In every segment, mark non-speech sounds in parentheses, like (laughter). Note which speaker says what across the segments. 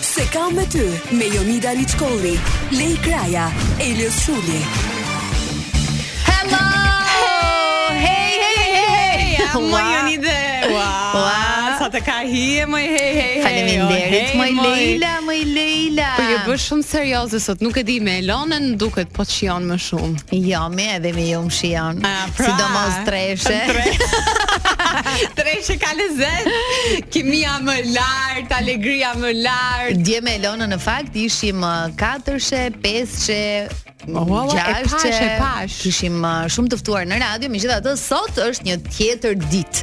Speaker 1: Se kam me ty me Jonida Liçkolli, Lej Kraja, Elios Shuli.
Speaker 2: Hello! Hey, hey, hey, hey!
Speaker 3: Ua.
Speaker 2: Më joni dhe... Ua!
Speaker 3: Ua.
Speaker 2: Sa të ka hije, moj, hey, hey, hey!
Speaker 3: Faleminderit,
Speaker 2: o,
Speaker 3: moj
Speaker 2: moj.
Speaker 3: Leila, moj Leila.
Speaker 2: Po ju bësh shumë serioze sot, nuk e di me Elonën duket po të shijon më
Speaker 3: (laughs)
Speaker 2: shumë.
Speaker 3: Jo, me edhe me ju më shion.
Speaker 2: Ah, pra.
Speaker 3: Sidomos
Speaker 2: (laughs)
Speaker 3: treshe.
Speaker 2: treshe ka lezet. Kimia më lart, alegria më lart.
Speaker 3: (laughs) Dje me Elona në fakt ishim ë, katërshe, peshe,
Speaker 2: Ma valla, Oh, e pash,
Speaker 3: gjashtë,
Speaker 2: e pash.
Speaker 3: Kishim ë, shumë të ftuar në radio, megjithatë sot është një tjetër ditë.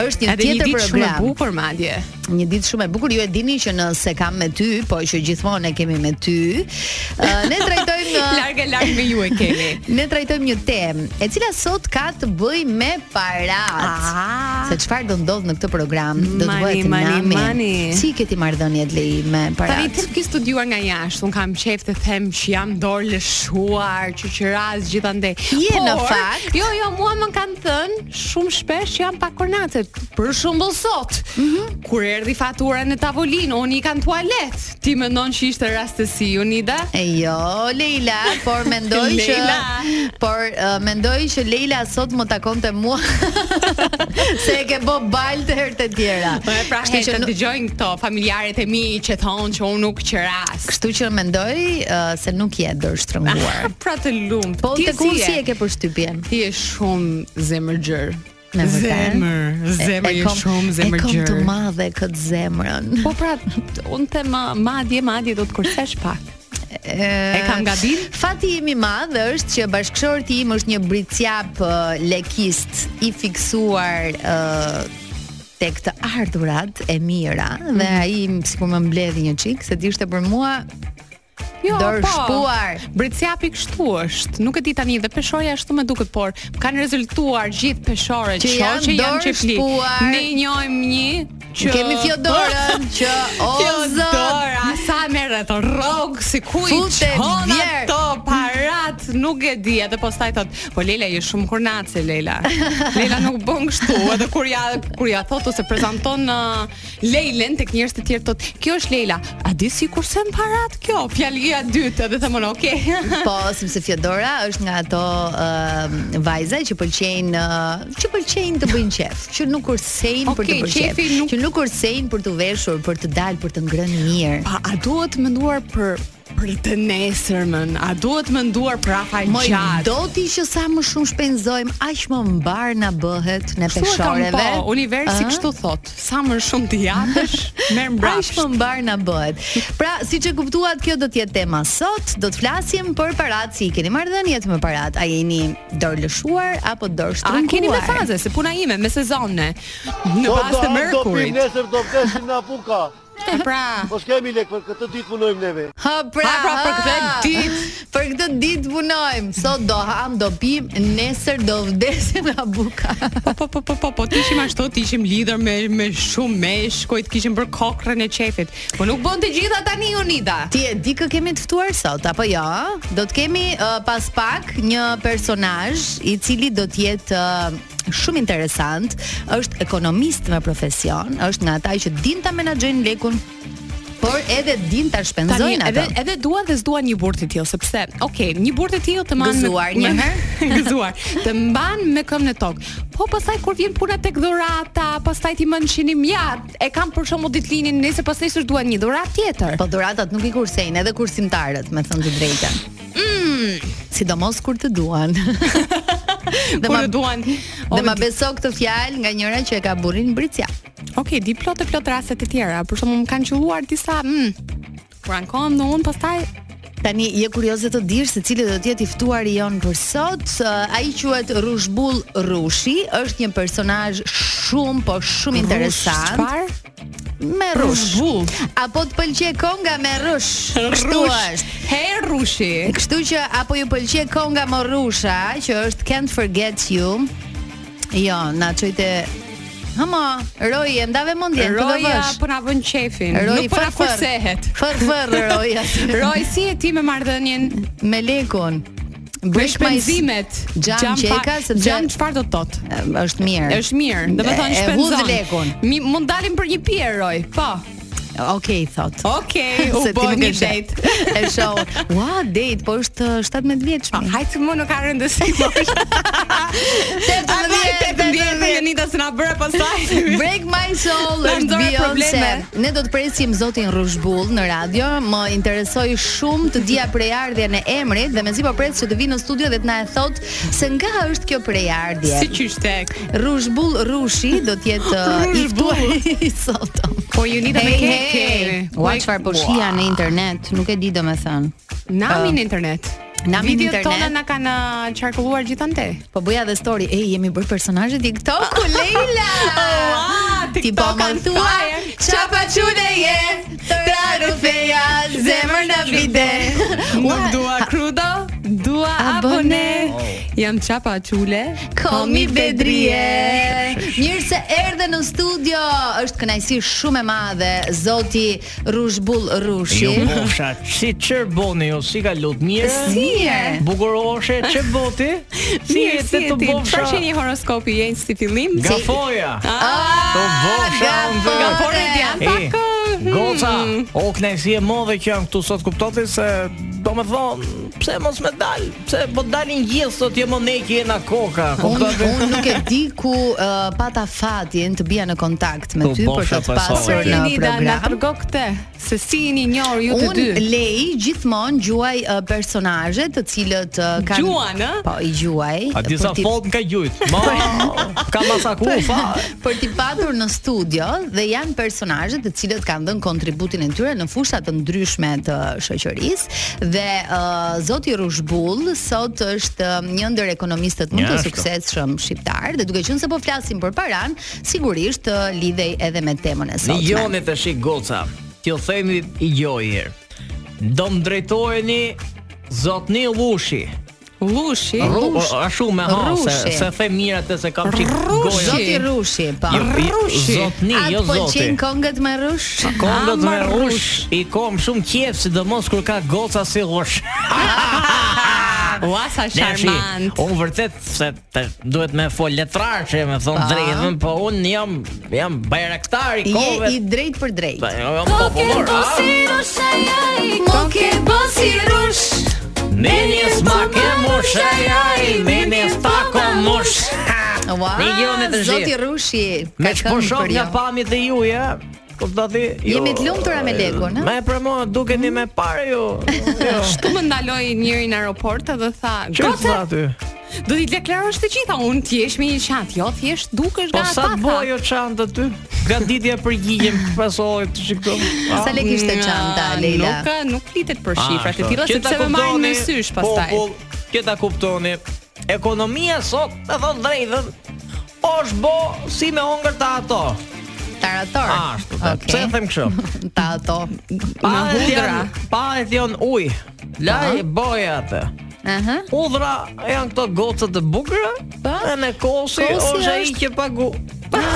Speaker 3: Është një
Speaker 2: Edhe një
Speaker 3: tjetër
Speaker 2: ditë shumë e
Speaker 3: program.
Speaker 2: bukur madje.
Speaker 3: Një ditë shumë e bukur. Ju e dini që nëse kam me ty, po që gjithmonë e kemi me ty. ë, ne trajtojmë uh, ë,
Speaker 2: (laughs) Larg e larg me ju e kemi.
Speaker 3: Ne trajtojmë një temë, e cila sot ka të bëj me parat.
Speaker 2: Ah,
Speaker 3: Se çfarë do ndodh në këtë program? Do të
Speaker 2: Mani,
Speaker 3: bëhet
Speaker 2: mani,
Speaker 3: nami.
Speaker 2: mani.
Speaker 3: Si ke ti marrëdhëniet lei me
Speaker 2: Tani
Speaker 3: parat?
Speaker 2: ti ke studiuar nga jashtë, un kam qejf të them që jam dorë lëshuar, qyqëras gjithandej.
Speaker 3: Je,
Speaker 2: Por,
Speaker 3: në fakt.
Speaker 2: Jo, jo, mua më kanë thënë shumë shpesh që jam pa kornace. Për shembull sot,
Speaker 3: Mhm.
Speaker 2: kur erdhi fatura në tavolinë, unë i kam tualet. Ti mendon që ishte rastësi, Unida?
Speaker 3: E jo, Leila, por
Speaker 2: (laughs)
Speaker 3: mendoj që
Speaker 2: Leila.
Speaker 3: por uh, mendoj që Leila sot më takonte mua (laughs) se e ke bë bal të herë të tjera.
Speaker 2: Po e pra
Speaker 3: Kështu
Speaker 2: hej,
Speaker 3: që
Speaker 2: të
Speaker 3: nuk-
Speaker 2: dëgjojnë këto familjarët e mi që thonë që unë nuk qëras.
Speaker 3: Kështu që mendoj uh, se nuk je dorë
Speaker 2: (laughs)
Speaker 3: shtrënguar.
Speaker 2: Pra të lumt.
Speaker 3: Po
Speaker 2: Ti
Speaker 3: të ku
Speaker 2: je?
Speaker 3: si e ke përshtypjen?
Speaker 2: Ti je shumë zemërgjër.
Speaker 3: Me vërtet?
Speaker 2: zemër
Speaker 3: E- e
Speaker 2: je
Speaker 3: kom-
Speaker 2: shumë
Speaker 3: E kom të
Speaker 2: zemërgjër.
Speaker 3: madhe këtë zemrën.
Speaker 2: Po pra, unë them ma- madje madje do të kursesh pak.
Speaker 3: E
Speaker 2: kam gabim?
Speaker 3: Fati im i madh është që bashkëshorti im është një britjap ë, lekist i fiksuar ë tek të ardhurat e mira dhe
Speaker 2: Mhm.
Speaker 3: ai m- sikur më mbledhi një çik se dishte për mua
Speaker 2: Jo,
Speaker 3: Dorë shpuar.
Speaker 2: Brecjapi kështu është. Nuk e di tani dhe peshoja ashtu më duket, por më kanë rezultuar gjithë peshorët,
Speaker 3: Që janë
Speaker 2: shoqe janë
Speaker 3: dorë
Speaker 2: çepli.
Speaker 3: shpuar.
Speaker 2: Ne njohim një që
Speaker 3: kemi
Speaker 2: (laughs)
Speaker 3: Fiodorën që o zot
Speaker 2: Fiodora, sa merret rrog, si ku i
Speaker 3: Futet
Speaker 2: çon
Speaker 3: vjer.
Speaker 2: ato parat, nuk e di, edhe pastaj thot, po Lela je shumë kurnace (laughs) Lela. Lela nuk bën kështu, edhe kur ja kur ja thot ose prezanton uh, Lelen tek njerëz të tjerë thot, kjo është Lela. A di si kurse më parat kjo? Fjalia e dytë, edhe them unë, okay.
Speaker 3: Po, sepse Fiodora është nga ato ë, vajza që pëlqejnë ë, që pëlqejnë të bëjnë qef, që nuk kursejnë për të
Speaker 2: Okej,
Speaker 3: bërë qef,
Speaker 2: qefi nuk-
Speaker 3: që nuk kursejnë për të veshur, për të dalë, për të ngrënë mirë.
Speaker 2: Pa, a duhet menduar për për të nesërmën, a duhet menduar për afaj
Speaker 3: Moj,
Speaker 2: gjatë?
Speaker 3: do ti që sa më shumë shpenzojmë, aq më mbar na bëhet në
Speaker 2: Kështu e kam
Speaker 3: peshoreve.
Speaker 2: po, universi
Speaker 3: Ëh?
Speaker 2: kështu thot. Sa më shumë të japësh, merr
Speaker 3: Aq
Speaker 2: mbrapsht.
Speaker 3: më mbar na bëhet. Pra, siç e kuptuat, kjo do të jetë tema sot. Do të flasim për parat, si i keni marrëdhëniet me parat. A jeni dorë lëshuar apo dorë
Speaker 2: A
Speaker 3: shtrënguar?
Speaker 2: keni me faze, se puna ime, me sezone, në
Speaker 4: Po
Speaker 2: pas
Speaker 4: do
Speaker 2: të
Speaker 4: hajmë do pim
Speaker 2: mërkurit.
Speaker 4: nesër do vdesim na puka.
Speaker 2: E pra,
Speaker 4: Po s'kemi lek për këtë ditë punojmë neve.
Speaker 3: Ha pra,
Speaker 2: Ha, pra, për këtë
Speaker 3: ha.
Speaker 2: ditë.
Speaker 3: Për këtë ditë punojmë. Sot do ham, do pim, nesër do vdesim nga buka.
Speaker 2: po po po po po, po ti ishim ashtu, ti ishim lidhur me me shumë meshkuj, të kishim bër kokrën e çefit. Po nuk bën të gjitha tani Unida.
Speaker 3: Ti e di kë kemi të ftuar sot apo jo? Do të kemi uh, pas pak një personazh i cili do të jetë uh, shumë interesant, është ekonomist me profesion, është nga ata që din ta menaxhojnë lekun, por edhe din ta
Speaker 2: Tani
Speaker 3: shpenzojnë
Speaker 2: edhe
Speaker 3: atë.
Speaker 2: edhe dua dhe s'dua një burr të tillë, sepse, okay, një burr të tillë të mban
Speaker 3: Gëzuar një herë.
Speaker 2: (laughs) gëzuar, të mban me këmbën e tokë. Po pastaj kur vjen puna tek dhurata, pastaj ti më nshinim ja, e kam për shembull ditëlinin nesër, pastaj s'u duan një dhuratë tjetër.
Speaker 3: Po dhuratat nuk i kursejnë edhe kursimtarët, me thënë të drejtën.
Speaker 2: Mm.
Speaker 3: Sidomos kur të
Speaker 2: (laughs)
Speaker 3: duan. dhe
Speaker 2: kur
Speaker 3: ma
Speaker 2: e duan.
Speaker 3: dhe ma beso këtë fjalë nga njëra që e ka burrin Bricja.
Speaker 2: Okej, di plot e plot raste të tjera. Për shembull, më kanë qelluar disa, mm, kur ankohem në unë, pastaj
Speaker 3: Tani je kurioze të dish se cili do të jetë i ftuari jon për sot. Ë, Ai quhet Rushbull Rushi, është një personazh shumë po shumë interesant.
Speaker 2: Çfarë?
Speaker 3: Me rush.
Speaker 2: Rushbull.
Speaker 3: Apo të pëlqej konga me rush. Kështu është.
Speaker 2: He rushi.
Speaker 3: Kështu që apo ju pëlqej konga me rusha, që është Can't Forget You. Jo, na çojte Hama, Roy, e ndave mendjen, ku do
Speaker 2: Roja
Speaker 3: vesh?
Speaker 2: po na vën qefin.
Speaker 3: Roy,
Speaker 2: Nuk po na
Speaker 3: fër, fër.
Speaker 2: kursehet.
Speaker 3: Fër fër
Speaker 2: (laughs)
Speaker 3: Roy.
Speaker 2: Roj, si e ti me marrëdhënien
Speaker 3: (laughs) me lekun.
Speaker 2: me
Speaker 3: Break my-
Speaker 2: shpenzimet?
Speaker 3: Gjam
Speaker 2: pa-
Speaker 3: qeka, sepse-
Speaker 2: gjam çfarë do të thotë?
Speaker 3: Ë, është mirë.
Speaker 2: Është mirë, do të thonë
Speaker 3: E- e
Speaker 2: shpenzon.
Speaker 3: hudh lekun.
Speaker 2: Mi mund dalim për një pirë, Roj. Po.
Speaker 3: Okej, thot.
Speaker 2: Okej, u
Speaker 3: (laughs) Se ti
Speaker 2: bë
Speaker 3: nuk e
Speaker 2: një
Speaker 3: sheh.
Speaker 2: date.
Speaker 3: E shoh. Ua, date, po është uh, 17 vjeç.
Speaker 2: Pa, hajtë se më Po, nuk ka
Speaker 3: (laughs)
Speaker 2: rëndësi më është A më e të të ndjetë Jonita se na bërë
Speaker 3: (laughs)
Speaker 2: pasaj
Speaker 3: Break my soul
Speaker 2: Na
Speaker 3: është
Speaker 2: nxorë
Speaker 3: Beyoncé.
Speaker 2: probleme.
Speaker 3: Ne do të presim zotin Rushbull në radio. Më interesoi shumë të dija prejardhjen e emrit dhe mezi po pres që të vinë në studio dhe të na e thot se nga është kjo prejardhje.
Speaker 2: Si qyshtek
Speaker 3: Rushbull Rushi do të jetë uh, i ftuar i (laughs) sot.
Speaker 2: Po Jonita me ke ke
Speaker 3: Ua çfarë po shija në internet, nuk e di domethën.
Speaker 2: Nami në internet
Speaker 3: Nami në
Speaker 2: Videot
Speaker 3: internet.
Speaker 2: tona na kanë uh, qarkulluar gjithante.
Speaker 3: Po bëja dhe story, e jemi bërë personazhe (laughs) TikTok-u Leila.
Speaker 2: Ua,
Speaker 3: Ti po
Speaker 2: TikTok
Speaker 3: më
Speaker 2: on
Speaker 3: thua
Speaker 2: fire.
Speaker 3: çapa çune je, tra rufeja, zemër në
Speaker 2: (laughs)
Speaker 3: vide.
Speaker 2: Nuk
Speaker 3: Ua,
Speaker 2: dua krudo, dua
Speaker 3: Abone.
Speaker 2: abone. Jam çapa çule,
Speaker 3: Komi Bedrie. Mirë se erdhe në studio. Është kënaqësi shumë e madhe zoti Rushbull Rushi.
Speaker 5: Ju bofsha, Jo, si çerboni ju, si ka lut mirë?
Speaker 3: Si je?
Speaker 5: Bukuroshe, çe
Speaker 2: (laughs)
Speaker 5: boti? Si
Speaker 2: Mirë,
Speaker 5: je
Speaker 2: si e
Speaker 5: të
Speaker 2: ti?
Speaker 5: bofsha?
Speaker 2: Çfarë një horoskopi je si fillim?
Speaker 5: Gafoja.
Speaker 2: Ah,
Speaker 5: Të bofsha
Speaker 3: gafore.
Speaker 5: unë.
Speaker 2: Gafore ti janë
Speaker 5: E,
Speaker 2: pak. uh, hmm.
Speaker 5: Goca, o knajsi e modhe që janë këtu sot kuptoti se do me thonë, pse mos me dalë, pse po dalin gjithë sot jo jemo ne që jena koka,
Speaker 2: Po,
Speaker 3: Unë
Speaker 5: kuptoti?
Speaker 3: un nuk e di ku uh, pata fatin të bija në kontakt me
Speaker 5: Po,
Speaker 3: ty për
Speaker 5: bofsha
Speaker 3: të të
Speaker 5: pas
Speaker 3: pasur
Speaker 5: fatit.
Speaker 3: në
Speaker 2: Jonida na
Speaker 3: program.
Speaker 2: tregon këtë se si jeni njohur ju të
Speaker 3: Unë
Speaker 2: dy.
Speaker 3: lej gjithmonë gjuaj uh, personazhe të cilët uh, kanë
Speaker 2: Gjuan, ë?
Speaker 3: Po, i gjuaj.
Speaker 5: A disa
Speaker 3: për t'i-
Speaker 5: fot nga gjujt,
Speaker 2: (laughs)
Speaker 5: ma, ka masaku, fa.
Speaker 3: (laughs) për t'i patur në studio dhe janë personazhe të cilët kanë dhënë kontributin e tyre në fusha të ndryshme të shoqërisë dhe uh, zoti Rushbull sot është uh, një ndër ekonomistët më të
Speaker 5: Njashtu.
Speaker 3: suksesshëm shqiptar dhe duke qenë se po flasim për paran, sigurisht uh, lidhej edhe me temën e
Speaker 5: Në
Speaker 3: sotme.
Speaker 5: joni të shi goca T'ju themi i gjoj herë Do më drejtojeni Zotni Lushi
Speaker 2: Lushi.
Speaker 5: Rush A shumë me ha
Speaker 3: Rushi.
Speaker 5: Se, se them mira të se kam qik
Speaker 2: Rushi.
Speaker 5: goja
Speaker 3: Zoti Rushi, po.
Speaker 5: Jo, i- Zotni,
Speaker 3: Atë
Speaker 5: jo
Speaker 3: po
Speaker 5: zoti
Speaker 3: qenë kongët me rush?
Speaker 5: Kongët me
Speaker 2: Ama
Speaker 5: rush I kom shumë qef Sidomos kur ka goca si
Speaker 3: (laughs)
Speaker 5: rush
Speaker 2: Ua sa
Speaker 5: Ne shi,
Speaker 2: charmant.
Speaker 5: unë vërtet se të, duhet me fol letrar që me thonë
Speaker 3: Pa.
Speaker 5: drejtën, po unë jam jam bajraktar i
Speaker 3: Je
Speaker 5: kove.
Speaker 3: i drejt për drejt.
Speaker 5: Jam popullor. a? Me një smak e mush Aj aj Me një spak o mush
Speaker 3: Ua,
Speaker 5: Një gjone të
Speaker 3: Zoti
Speaker 5: zhjetë.
Speaker 3: Rushi,
Speaker 5: Me
Speaker 3: ka
Speaker 5: që po
Speaker 3: këngë
Speaker 5: shoh
Speaker 3: për jo.
Speaker 5: nga
Speaker 3: ju.
Speaker 5: pamjet e ju ja Kuptati ju-
Speaker 3: Jemi të lumtura me lekun, a?
Speaker 5: Me për mua dukeni me parë ju
Speaker 3: (laughs)
Speaker 5: Jo.
Speaker 2: Shtu më ndaloi njëri në aeroport dhe tha,
Speaker 5: Që
Speaker 2: "Goca,
Speaker 5: sa aty?
Speaker 2: do t'i deklarosh të gjitha, unë t'jesh me një qant." Jo, thjesht dukesh
Speaker 5: Po
Speaker 2: nga
Speaker 5: sa të
Speaker 2: ata.
Speaker 5: bojë o çantë aty? Nga ditja përgjigjem pasohet të shikoj.
Speaker 3: Sa lek ishte çanta
Speaker 2: Nga,
Speaker 3: Leila?
Speaker 2: Mm, Nuk nuk flitet për shifrat e
Speaker 5: ashtu.
Speaker 2: tilla
Speaker 5: Ah, Që ta
Speaker 2: sepse më marrin
Speaker 5: kuptoni,
Speaker 2: në sysh pastaj.
Speaker 5: Popull, që ta kuptoni. Ekonomia sot, e thon drejtën, është bo si me hongër të ato.
Speaker 3: Tarator.
Speaker 5: Ah, Ashtu. Okay. Pse e
Speaker 3: Okej.
Speaker 5: them kështu?
Speaker 3: Ta ato.
Speaker 5: Pa
Speaker 2: Me
Speaker 5: e
Speaker 2: hudra.
Speaker 5: thjon, pa e thjon uj. Laj boja atë.
Speaker 3: Aha.
Speaker 5: Hudhra janë këto gocët të bukura, e me kosi,
Speaker 3: Kosi
Speaker 5: është ai
Speaker 3: është-
Speaker 5: që pagu.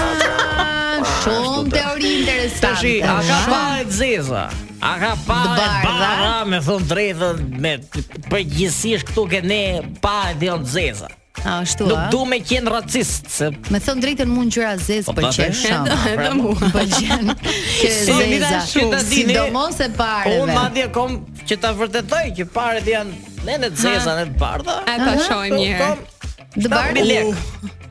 Speaker 3: Ah, Shumë teori
Speaker 5: Tashi,
Speaker 3: interesante.
Speaker 5: a ka
Speaker 3: Shumë.
Speaker 5: pa e zeza? A ka pa
Speaker 3: Të
Speaker 5: e
Speaker 3: bardha?
Speaker 5: bardha, me thon drejtën, me përgjithsisht këtu ke ne pa e dhënë zeza.
Speaker 3: Ashtu.
Speaker 5: Nuk
Speaker 3: a?
Speaker 5: du me qenë racist se
Speaker 3: Me thënë drejtën mua ngjyra zez
Speaker 5: Po,
Speaker 3: pëlqen
Speaker 5: patë. (laughs)
Speaker 3: shumë.
Speaker 2: Edhe
Speaker 5: po.
Speaker 2: mua.
Speaker 3: Pëlqen që
Speaker 5: Si,
Speaker 3: zeza.
Speaker 5: Lida, që ta dini- Po,
Speaker 3: Sidomos e
Speaker 5: unë
Speaker 3: pareve.
Speaker 5: madje kom që ta vërtetoj që paret janë ne Po, në të zeza në të bardha.
Speaker 2: E ta shohim një herë.
Speaker 3: Të bardha.
Speaker 5: lek.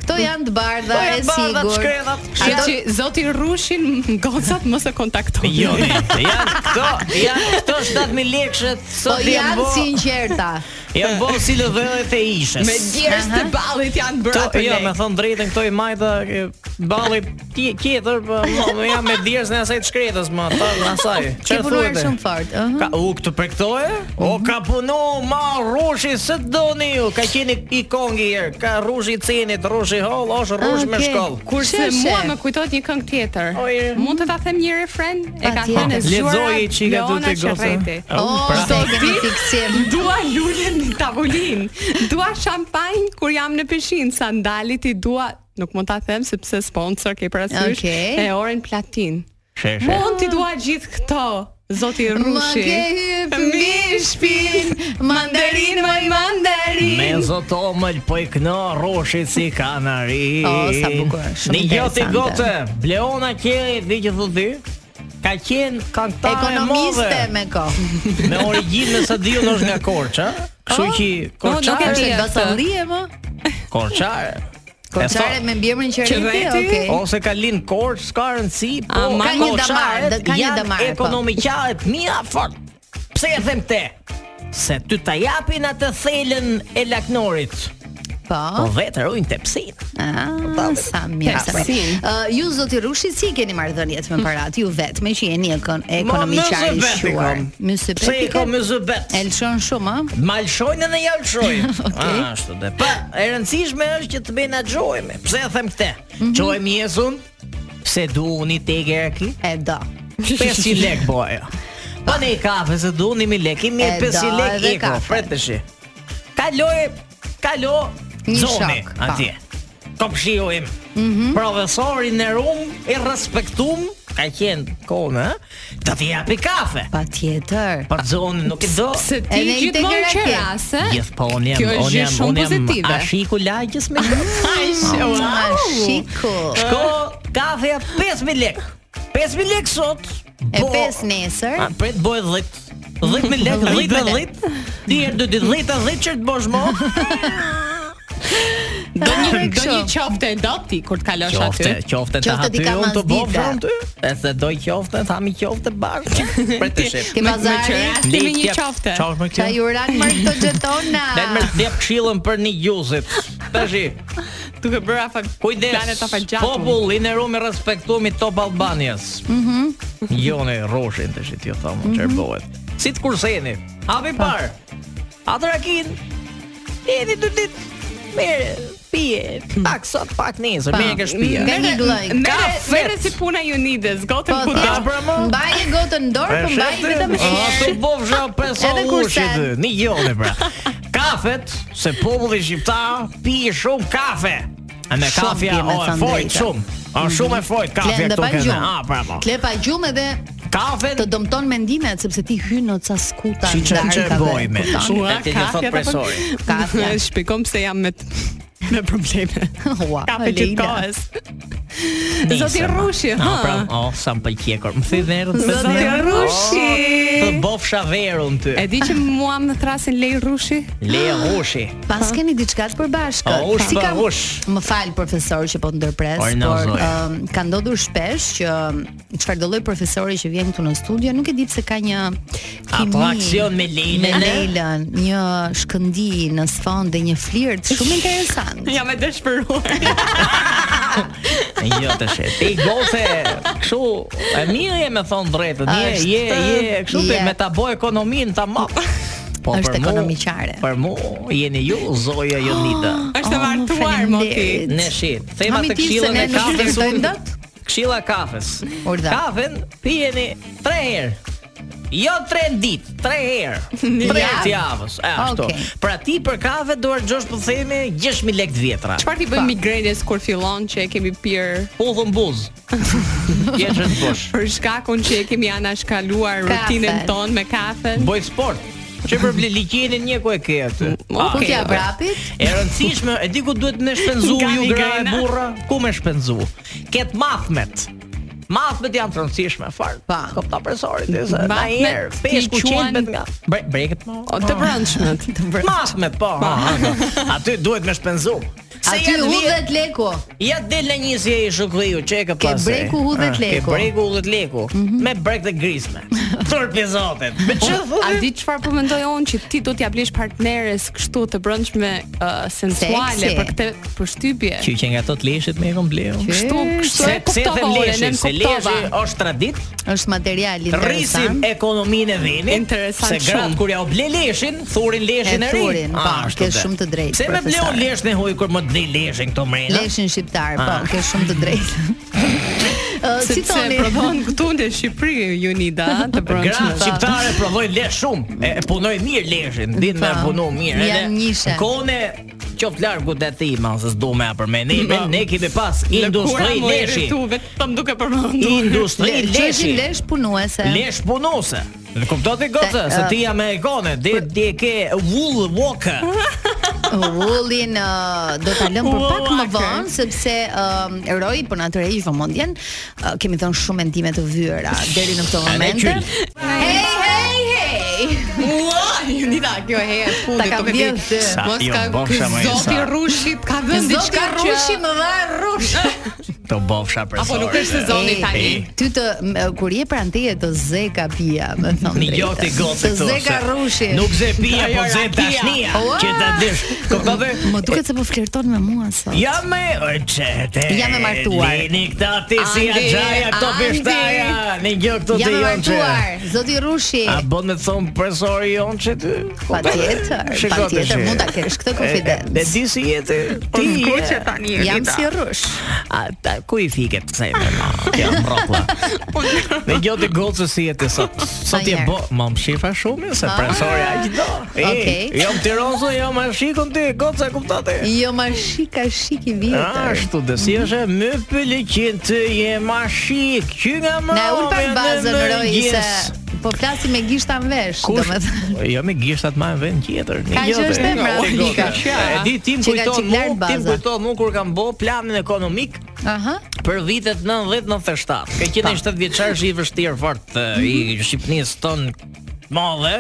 Speaker 3: Këto janë të bardha
Speaker 5: Po
Speaker 3: e
Speaker 5: janë bardha të
Speaker 3: sigurt.
Speaker 5: shkretat.
Speaker 2: Kështu
Speaker 3: Ato-
Speaker 2: që zoti Rushin (laughs) gocat mos e kontaktoni.
Speaker 5: Jo, ne, janë këto, janë këto 7000 lekëshe
Speaker 3: Po
Speaker 5: sot janë
Speaker 3: janë
Speaker 5: bo,
Speaker 3: sinqerta.
Speaker 5: janë bo si lëdhëllet e ishës.
Speaker 2: Me djerës të
Speaker 3: Aha.
Speaker 2: ballit janë bërë
Speaker 5: Këto,
Speaker 2: atë
Speaker 5: jo, me
Speaker 2: lek.
Speaker 5: thon drejtën këto i majta e, balli tje- tjetër, po mo, më jam me djerës në asaj të shkretës, më ta në asaj.
Speaker 3: Ke
Speaker 5: (laughs) Çfarë
Speaker 3: punuar
Speaker 5: thuhet e?
Speaker 3: shumë fort. ëh.
Speaker 5: Ka u këtë për këto e? O ka punu ma rushi se doni ju Ka qeni i kongi herë Ka rushi i cenit, rushi hall, është rush me
Speaker 3: Okej.
Speaker 5: shkollë
Speaker 2: Kurse
Speaker 3: Sheshe.
Speaker 2: mua më kujtohet një këngë tjetër.
Speaker 5: O, e.
Speaker 2: Mund të ta them një refren? E ka
Speaker 3: Patjetër.
Speaker 2: thënë e zgjuara.
Speaker 5: Lexoj i çika të
Speaker 2: Leona
Speaker 5: të gocë.
Speaker 2: Qerreti.
Speaker 5: Au,
Speaker 3: Oh,
Speaker 5: pra.
Speaker 3: se e kemi
Speaker 2: ditë-
Speaker 3: fiksim.
Speaker 2: Dua lule në tavolinë. Dua shampanjë kur jam në pishinë, sandalit i dua Nuk mund ta them sepse sponsor ke parasysh
Speaker 3: Okej.
Speaker 2: e orën platin.
Speaker 5: Sheshe
Speaker 2: Mund t'i dua gjithë këto, zoti
Speaker 3: Më
Speaker 2: Rushi.
Speaker 3: ke hyp mi
Speaker 2: shpin, mandarin, maj mandarin.
Speaker 5: Me zotomël po i këna rushi si kanari
Speaker 3: O, sa bukur, shumë
Speaker 5: Një gjotë i
Speaker 3: interesante.
Speaker 5: gotë Bleona kjeri, di që thu ti ka qenë këngëtare e move.
Speaker 3: Ekonomiste me
Speaker 2: (laughs)
Speaker 3: kohë.
Speaker 5: Me origjinë sa diu është nga Korça, kështu
Speaker 2: Oh,
Speaker 5: që
Speaker 2: nuk e
Speaker 5: Korçare,
Speaker 2: di.
Speaker 3: Është
Speaker 2: Ti e
Speaker 3: vasallie më?
Speaker 5: Korçare.
Speaker 3: Korçare me mbiemrin Qeriti,
Speaker 2: Qerreti?
Speaker 3: okay.
Speaker 5: Ose ka lind Korç, s'ka rëndësi, po
Speaker 2: Ama
Speaker 3: Ka një damar,
Speaker 5: Korçaret
Speaker 3: dhe- ka një
Speaker 5: janë
Speaker 3: damar. po.
Speaker 5: Ekonomikare të mira fort. Pse e them te? Se ty ta japin atë thelën e laknorit. Po
Speaker 3: Po.
Speaker 5: vetë rujnë tepsinë.
Speaker 2: po,
Speaker 3: Ah, sa mirë. sa mirë.
Speaker 2: Tepsin.
Speaker 3: Ë, ju zoti Rushi si keni marrëdhëniet me parat ju vetë, me që jeni ekon
Speaker 5: Ma,
Speaker 3: ekonomikar i
Speaker 5: mëse beti
Speaker 3: shuar.
Speaker 5: kam.
Speaker 3: Mysë
Speaker 5: Pse i ka
Speaker 3: peti.
Speaker 5: mëzëbet?
Speaker 3: Elçon shumë, ë?
Speaker 5: Malshojnë edhe
Speaker 3: (laughs)
Speaker 5: jalshojnë.
Speaker 3: Okej.
Speaker 5: Ah, Ashtu dhe. Pa, e rëndësishme është që të menaxhohemi. Pse e them këtë?
Speaker 3: Mhm.
Speaker 5: Çojmë jesun se duuni tek Erki
Speaker 3: E do.
Speaker 5: 500 lek po ajo.
Speaker 3: (laughs)
Speaker 5: Po ne i kafe se duuni mi lek, i mirë
Speaker 3: E
Speaker 5: 500
Speaker 3: do,
Speaker 5: lek
Speaker 3: edhe
Speaker 5: iko,
Speaker 3: kafe.
Speaker 5: freteshi. Kaloj, kalo
Speaker 3: Një
Speaker 5: zoni
Speaker 3: shok, pa. Mhm.
Speaker 5: atje. Kopshiu im. Profesori në rum, i respektum, ka qenë kone, ë? do t'i japi kafe.
Speaker 3: Patjetër.
Speaker 5: Për zonën nuk e do.
Speaker 2: Se ti
Speaker 3: Edhe i
Speaker 2: gjithmonë
Speaker 3: tek
Speaker 2: qeras,
Speaker 3: rake.
Speaker 2: e?
Speaker 5: Gjithë po unë jam,
Speaker 2: Eh? Kjo është
Speaker 5: unë
Speaker 2: gjë
Speaker 5: jam,
Speaker 2: shumë
Speaker 5: unë jam
Speaker 2: pozitive.
Speaker 5: ashiku lagjës
Speaker 2: (laughs)
Speaker 5: me gjithë.
Speaker 3: Mua Oh, shiku.
Speaker 5: Shko, kafe 5.000 lek. 5.000 lek sot.
Speaker 3: E
Speaker 2: Po,
Speaker 5: bo-
Speaker 3: pes nesër.
Speaker 5: A pret bëhet 10. 10.000 lek, 10
Speaker 3: 10.000
Speaker 5: me
Speaker 3: lek.
Speaker 5: 10. Di herë do të 10 10 çert bosh mo.
Speaker 2: (laughs) Do një
Speaker 3: Kështu.
Speaker 2: do një qofte dopti kur të kalosh
Speaker 5: Qofte,
Speaker 2: aty.
Speaker 5: qofte të
Speaker 3: Qofte di
Speaker 5: haty
Speaker 3: ka
Speaker 5: unë të
Speaker 3: mas
Speaker 5: bëj
Speaker 3: dita.
Speaker 5: ty. Edhe do qofte, thami qofte bashkë.
Speaker 2: (laughs)
Speaker 5: Pret të shep.
Speaker 3: Ti
Speaker 2: Me- me
Speaker 3: bazari.
Speaker 2: qeras. Ti me një qofte.
Speaker 5: Çfarë më
Speaker 3: Qa
Speaker 5: kjo?
Speaker 3: ju ranë marrë këto gjetona
Speaker 5: Dal më të jap këshillën për një gjuzit. Tashi,
Speaker 2: Duke bërë afa planet
Speaker 5: Kujdes,
Speaker 2: afa gjatë.
Speaker 5: popull i në rumë respektumi top Albanias. Mhm. Jone Roshin të shit jo thamë, mm
Speaker 3: Mhm.
Speaker 5: çerbohet. Si të kurseni. Hapi
Speaker 3: Po.
Speaker 5: par. Atrakin. Jeni dy ditë. Merë, pije, pak sot, pak nesër,
Speaker 3: Pa.
Speaker 5: merë ke shtëpia.
Speaker 3: Nga një lloj.
Speaker 2: Merë
Speaker 5: Kafet.
Speaker 2: merë si puna ju nides,
Speaker 3: Po,
Speaker 2: gotën ku
Speaker 3: po,
Speaker 2: do.
Speaker 5: Dash për mo?
Speaker 3: mbaj e gotën në dorë, po mbaj vetëm
Speaker 5: A,
Speaker 3: një.
Speaker 5: Ah, Tu bofsha
Speaker 3: (laughs)
Speaker 5: peso
Speaker 3: Edhe kursen.
Speaker 5: ushit, një jone pra. Kafet, se populli shqiptar pije shumë kafe. A me
Speaker 3: Shumë
Speaker 5: kafja,
Speaker 3: pije, me
Speaker 5: o e
Speaker 3: thënë
Speaker 5: fojt,
Speaker 3: drejtën.
Speaker 5: shumë. A shumë e fojt kafja
Speaker 3: Klen dhe
Speaker 5: këtu
Speaker 3: pa
Speaker 5: këne.
Speaker 3: gjumë.
Speaker 5: A, bravo.
Speaker 3: Kle pa gjumë edhe
Speaker 5: Kafen
Speaker 3: të dëmton mendimet sepse ti hyn në ca skuta
Speaker 5: Si që që boj me
Speaker 3: kupton? jo
Speaker 2: Ua,
Speaker 5: E ti një
Speaker 2: kafja,
Speaker 5: thot
Speaker 2: ta po-
Speaker 5: presori
Speaker 3: pra-
Speaker 2: (laughs)
Speaker 3: Kafja.
Speaker 2: Shpikom pse jam me t- me probleme.
Speaker 3: Ua,
Speaker 2: Kafe
Speaker 3: Leila.
Speaker 2: gjithë kohës. Zoti Rushi,
Speaker 5: ha
Speaker 2: ha.
Speaker 5: pra, oh, sa më pëlqekor Më thyrë verën të
Speaker 2: Zoti
Speaker 5: verën.
Speaker 2: Rushi.
Speaker 5: Oh, Të bofsha verën ty
Speaker 2: E di që mua më thrasin lej Rushi?
Speaker 5: Le rushi
Speaker 3: Pas keni diçka të përbashkët.
Speaker 5: O, ush për ush.
Speaker 3: Më fal profesor që po të ndërpres,
Speaker 5: Ornazoj.
Speaker 3: por um, ka ndodhur shpesh që um, çfarëdo lloj profesori që vjen këtu në studio nuk e di pse ka një kimi
Speaker 5: Atraksion me Leilën,
Speaker 3: me
Speaker 5: e?
Speaker 3: Leilën, një shkëndi në sfond dhe një flirt shumë
Speaker 5: (laughs)
Speaker 3: interesant.
Speaker 2: Jam e dëshpëruar.
Speaker 5: Jo të shet Ti gose Kështu E mirë je me thonë drejtën Je,
Speaker 3: Është,
Speaker 5: je, je Kështu ti
Speaker 3: je.
Speaker 5: me ta bo ekonomin ta map Po
Speaker 3: Është
Speaker 5: për mu-
Speaker 3: ekonomiqare.
Speaker 5: Për mu jeni ju Zoja Jonita
Speaker 2: Është
Speaker 3: Oh,
Speaker 2: e martuar
Speaker 3: faleminderit.
Speaker 2: mo ti.
Speaker 5: Ne shi Thema
Speaker 3: Mami
Speaker 5: të
Speaker 3: ti se
Speaker 5: këshillën
Speaker 3: ne
Speaker 5: e
Speaker 3: nuk
Speaker 5: kafes
Speaker 3: flirtojmë
Speaker 5: unë-
Speaker 3: dot?
Speaker 5: Këshilla e kafes.
Speaker 3: Urdhë.
Speaker 5: Kafen pijeni 3 herë. Jo 3 ditë, 3
Speaker 3: (laughs)
Speaker 5: herë. 3 herë
Speaker 3: javë.
Speaker 5: të javës, e ashtu.
Speaker 3: Okey.
Speaker 5: Pra ti për kafe duhet gjosh po themi 6000 lekë të vjetra.
Speaker 2: Çfarë ti bën migrenës kur fillon që e kemi pirë
Speaker 5: Udhën buz.
Speaker 3: (laughs)
Speaker 5: Jetë të bosh.
Speaker 2: për shkakun që e kemi anashkaluar
Speaker 3: Kafen.
Speaker 2: rutinën tonë me kafen?
Speaker 5: Bëj sport. Që për ble liqenin një ku e ke aty.
Speaker 2: Po,
Speaker 5: Ah,
Speaker 3: Ku t'ja
Speaker 5: e-
Speaker 3: vrapit?
Speaker 5: E rëndësishme, e di ku duhet me shpenzu
Speaker 2: Nga
Speaker 5: ju gra e
Speaker 2: migrena.
Speaker 5: burra, ku me shpenzu? Ket mathmet. Mathmet janë të rëndësishme fare.
Speaker 3: Pa.
Speaker 5: Kopta presorit, e se na
Speaker 2: Mathmet
Speaker 5: herë
Speaker 2: ti
Speaker 5: peshku
Speaker 2: quan-
Speaker 5: qelbet nga Bre- breket (laughs) ma.
Speaker 2: O, Të brëndshmet. (laughs)
Speaker 5: Mathmet po. ha, ha, ha. (laughs) Aty duhet me shpenzu. Se
Speaker 3: Aty
Speaker 5: janë vjet-
Speaker 3: hudhet leku.
Speaker 5: Ja del në një si e i shukriu, që e ka
Speaker 3: Ke
Speaker 5: pasaj.
Speaker 3: breku hudhet
Speaker 5: Ah,
Speaker 3: leku.
Speaker 5: Ke breku hudhet leku. Me brek të grisme. Turpi zotit. Me që
Speaker 2: A di çfarë po mendoj unë që ti do t'ja blesh partneres kështu të brëndshme uh, sensuale
Speaker 3: Seksi.
Speaker 2: për këtë përshtypje?
Speaker 5: Që që nga të të leshit me e kom bleu.
Speaker 2: Kështu, kështu e kuptova
Speaker 5: them
Speaker 2: unë, ne
Speaker 5: leshin, se leshi
Speaker 2: kuptova.
Speaker 5: është tradit,
Speaker 3: Është material
Speaker 5: rrisim
Speaker 3: interesant.
Speaker 5: ekonominë e venit.
Speaker 2: Interesant
Speaker 5: se gratë
Speaker 2: shumë.
Speaker 5: kur ja u ble leshin, thurin leshin
Speaker 3: E
Speaker 5: e ri.
Speaker 3: thurin,
Speaker 5: Ah,
Speaker 3: pa,
Speaker 5: ashtu
Speaker 3: ke
Speaker 5: dhe.
Speaker 3: shumë të drejtë,
Speaker 5: Pse me bleu
Speaker 3: profesor.
Speaker 5: leshin e huj kur më të blej leshin këto mrena?
Speaker 3: Leshin shqiptar, po,
Speaker 5: Ah.
Speaker 3: ke shumë të drejtë.
Speaker 5: (laughs)
Speaker 3: (laughs) Uh, Ë, si
Speaker 2: Sepse
Speaker 3: thoni?
Speaker 2: prodhon këtu në Shqipëri Unida të
Speaker 5: Gra
Speaker 2: brëndshme.
Speaker 5: shqiptare prodhojnë lesh shumë. E, e punoj mirë leshin, din me
Speaker 3: Po.
Speaker 5: punu mirë.
Speaker 3: Janë njishe.
Speaker 5: Kone qoftë largu të ti, ma se s'du me a përmendimin, ne kemi pas industri leshi.
Speaker 2: Tu vetëm duke përmendur.
Speaker 5: Industri
Speaker 3: Le-
Speaker 5: leshi.
Speaker 3: Qeshin lesh punuese.
Speaker 5: Lesh punose. Dhe kupton ti gocë
Speaker 3: Te-
Speaker 5: se
Speaker 3: ë, Hm,
Speaker 5: ti amerikane, di di e ke wool walker.
Speaker 3: Ullin uh, do ta lëm për pak më
Speaker 2: Ullake.
Speaker 3: vonë sepse uh, eroi po na tërheq vëmendjen. Uh, kemi dhënë shumë mendime të vyera deri në këtë moment.
Speaker 5: qyll.
Speaker 3: Hey hey hey.
Speaker 2: Ua, Unita, kjo e e
Speaker 3: Ta
Speaker 2: fundit po
Speaker 3: ka
Speaker 2: tok e
Speaker 3: vjedhë
Speaker 2: di.
Speaker 3: ty.
Speaker 5: Sa
Speaker 2: Mos
Speaker 5: jo
Speaker 2: ka
Speaker 5: bofsha,
Speaker 2: ky
Speaker 5: më e,
Speaker 2: zoti
Speaker 5: sa.
Speaker 2: rushit ka dhënë
Speaker 3: Zoti
Speaker 2: diçka që
Speaker 3: Rushi më dha
Speaker 2: (laughs)
Speaker 3: rush.
Speaker 5: Të bofsha për
Speaker 2: Apo nuk është sezoni
Speaker 3: Ej,
Speaker 2: tani.
Speaker 5: ej.
Speaker 3: Ty të m- uh, kur je pranë teje të ze ka pija, më thon
Speaker 5: Një
Speaker 3: drejtën.
Speaker 5: gjotë i gotë
Speaker 3: Të ze ka rushi.
Speaker 5: Nuk ze pia, po ze
Speaker 2: Ajo,
Speaker 5: tashnia
Speaker 3: rakia.
Speaker 5: Që ta dish Këpëve
Speaker 3: Më duket se po flirton me mua sot.
Speaker 5: Ja me e, qete
Speaker 3: Jam e martuar.
Speaker 5: Lini këta ti si a
Speaker 2: Andi,
Speaker 5: gjaja Këto
Speaker 2: Andi.
Speaker 5: pështaja Një gjë këto
Speaker 3: Jam
Speaker 5: të
Speaker 3: e
Speaker 5: jonë që
Speaker 3: martuar, zoti Rushi.
Speaker 5: A bon me thonë presori jonë që ty
Speaker 3: Patjetër,
Speaker 5: Shiko të
Speaker 3: patjetër
Speaker 5: shi.
Speaker 3: mund ta kesh këtë konfidencë.
Speaker 5: E, e, e di si jete Ti je
Speaker 2: tani.
Speaker 3: Jam si rrush.
Speaker 5: A ta, ku i fiket kësaj me
Speaker 3: (laughs)
Speaker 5: ma Kjo mrokulla
Speaker 3: Po,
Speaker 5: Dhe gjotë i gocë si jete sot Sot je
Speaker 3: Panjer.
Speaker 5: bo Ma më shifa shumë
Speaker 3: Ah.
Speaker 5: Se presori a gjithdo
Speaker 3: Okej.
Speaker 5: Jo më tironso Jo më shikon ti Gocë e kuptate
Speaker 3: Jo ma shika shik
Speaker 5: Ah,
Speaker 3: i vjetër.
Speaker 5: Ashtu dhe si është Më pëllëqin të je ma shik Që nga më
Speaker 3: Na ul pak bazën roj se po flasim me gishta në vesh, domethënë.
Speaker 5: Jo me gishtat ma në vend tjetër. Një
Speaker 3: Ka që
Speaker 5: gjë
Speaker 3: është
Speaker 5: dhe-
Speaker 3: emra,
Speaker 5: Jo, e
Speaker 3: Nika.
Speaker 5: gota. E di tim
Speaker 3: Që ka
Speaker 5: kujton
Speaker 3: qik lartë
Speaker 5: mua, tim
Speaker 3: baza.
Speaker 5: kujton mua kur kam bë planin ekonomik
Speaker 3: Aha.
Speaker 5: për vitet 90-97. Ka qenë një 7 vjeçar që i vështirë fort e, i Shqipnisë tonë madhe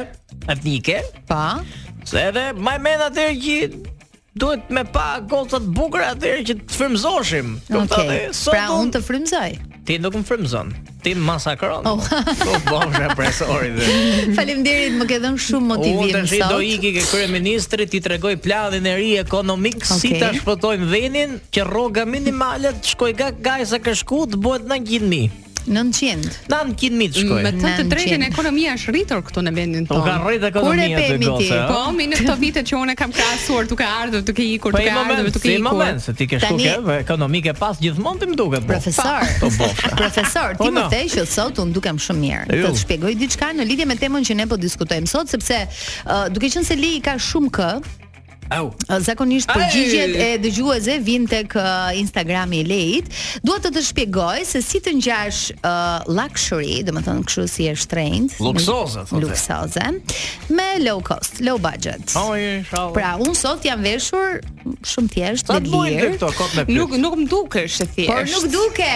Speaker 5: etnike,
Speaker 3: Pa.
Speaker 5: se edhe më men atëherë që duhet me pa gocat bukura atëherë që të frymëzoshim.
Speaker 3: Okej.
Speaker 5: sot
Speaker 3: Pra
Speaker 5: un-
Speaker 3: unë të frymzoj.
Speaker 5: ti nuk më frymëzon. Ti më masakron.
Speaker 3: Oh.
Speaker 5: (laughs) Po bosha presori dhe.
Speaker 3: Faleminderit, më ke dhënë shumë
Speaker 5: Unë
Speaker 3: motivim
Speaker 5: tash i
Speaker 3: sot.
Speaker 5: do iki ke kryeministri ti tregoj planin e ri ekonomik si
Speaker 3: Okej.
Speaker 5: ta shpëtojmë vendin që rroga minimale të shkoj ga gajsa ka shku të bëhet 9000. Po,
Speaker 3: 900.
Speaker 5: 9000 të shkoj.
Speaker 2: Me të të
Speaker 3: Nënqin.
Speaker 2: drejtën ekonomia është rritur këtu në vendin
Speaker 5: U Po, ka
Speaker 2: tonë.
Speaker 5: rrit
Speaker 3: Kur e
Speaker 5: ekonomia të
Speaker 3: pemi ti?
Speaker 5: goca.
Speaker 2: Po, mi në këto vite që unë e kam krahasuar, duke ardhur, duke ikur,
Speaker 5: Po i
Speaker 2: duke ardhur,
Speaker 5: moment,
Speaker 2: duke
Speaker 5: i moment,
Speaker 2: ikur.
Speaker 5: se ti ke shku
Speaker 3: Tani-
Speaker 5: ke po, ekonomike pas gjithmonë ti më duket. po.
Speaker 3: Profesor.
Speaker 5: Pa, (laughs) Po bofsha.
Speaker 3: Profesor, ti
Speaker 5: Po,
Speaker 3: më
Speaker 5: na.
Speaker 3: the që sot unë dukem shumë mirë.
Speaker 5: E,
Speaker 3: Do
Speaker 5: ju.
Speaker 3: të shpjegoj diçka në lidhje me temën që ne po diskutojmë sot, sepse uh, duke qenë se Lei ka shumë kë,
Speaker 5: Au.
Speaker 3: uh, zakonisht përgjigjet e dëgjuesve vijnë tek uh, Instagrami i Leit. Dua të të shpjegoj se si të ngjash uh, luxury, domethënë kështu si e shtrenjtë,
Speaker 5: Luksoze, thotë.
Speaker 3: luksoze me low cost, low budget.
Speaker 5: Oj, shau.
Speaker 3: Pra, unë sot jam veshur shumë thjesht,
Speaker 5: sa
Speaker 3: me
Speaker 5: të bojnë
Speaker 3: lirë.
Speaker 5: këto kot me pyet.
Speaker 2: Nuk nuk më dukesh e thjesht.
Speaker 3: Por nuk duke.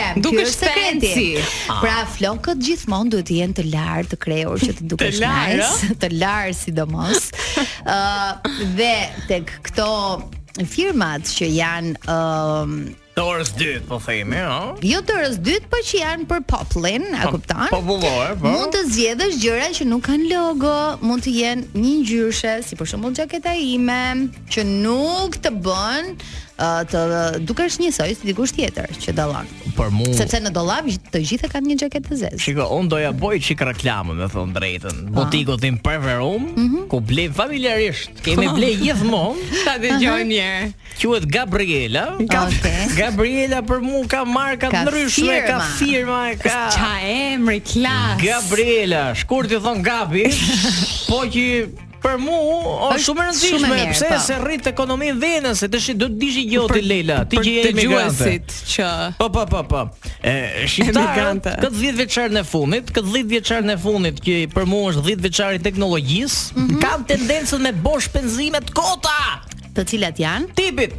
Speaker 3: Ky
Speaker 2: Dukesh
Speaker 3: është sekreti.
Speaker 2: fancy.
Speaker 3: Pra flokët gjithmonë duhet të jenë të lartë, të krehur që të dukesh
Speaker 2: Të larë,
Speaker 3: nice, të larë sidomos. Ë dhe tek këto firmat që janë ëm
Speaker 5: Të orës 2 po themi, ëh.
Speaker 3: jo të rës dytë, po që janë për popullin, a kupton?
Speaker 5: Popullore, po.
Speaker 3: Mund të zgjedhësh gjëra që nuk kanë logo, mund të jenë një ngjyrshe, si për shembull xhaketa ime, që nuk të bën uh, të dukesh njësoj si dikush tjetër që dallon.
Speaker 5: për mua.
Speaker 3: Sepse në dollap gjith- të gjithë kanë një xhaketë të zezë.
Speaker 5: Shiko, unë doja boj qik reklamën, me thonë drejtën.
Speaker 3: Ah.
Speaker 5: Botiku tim preferum,
Speaker 3: Mhm.
Speaker 5: ku blej familjarisht, kemi
Speaker 3: (laughs)
Speaker 5: blej gjithmonë,
Speaker 2: (laughs) Ta dëgjoj një. herë.
Speaker 5: quhet Gabriela.
Speaker 3: Okej.
Speaker 5: Gabriela për mu ka marka
Speaker 3: Ka
Speaker 5: të ndryshme, ka
Speaker 3: firma.
Speaker 5: firma, ka...
Speaker 2: Qa emri klas.
Speaker 5: Gabriela, shkurt i thon
Speaker 3: (laughs)
Speaker 5: Gabi, po që për mu është
Speaker 3: Është
Speaker 5: shumë e
Speaker 3: shumë e
Speaker 5: rëndësishme,
Speaker 3: mirë,
Speaker 5: pse
Speaker 3: po.
Speaker 5: se rrit ekonominë vendës, se tash do të dishi gjoti Leila, ti
Speaker 2: Për
Speaker 5: që je emigrante.
Speaker 2: dëgjuesit që
Speaker 5: Po po po po. E shqiptarët
Speaker 2: Emigrante.
Speaker 5: këtë 10 vjeçarin e fundit, këtë 10 vjeçarin e fundit që për mua është 10 vjeçari i teknologjisë,
Speaker 3: Mhm.
Speaker 5: kanë tendencën me bosh penzime të kota
Speaker 3: Të cilat janë?
Speaker 5: tipit.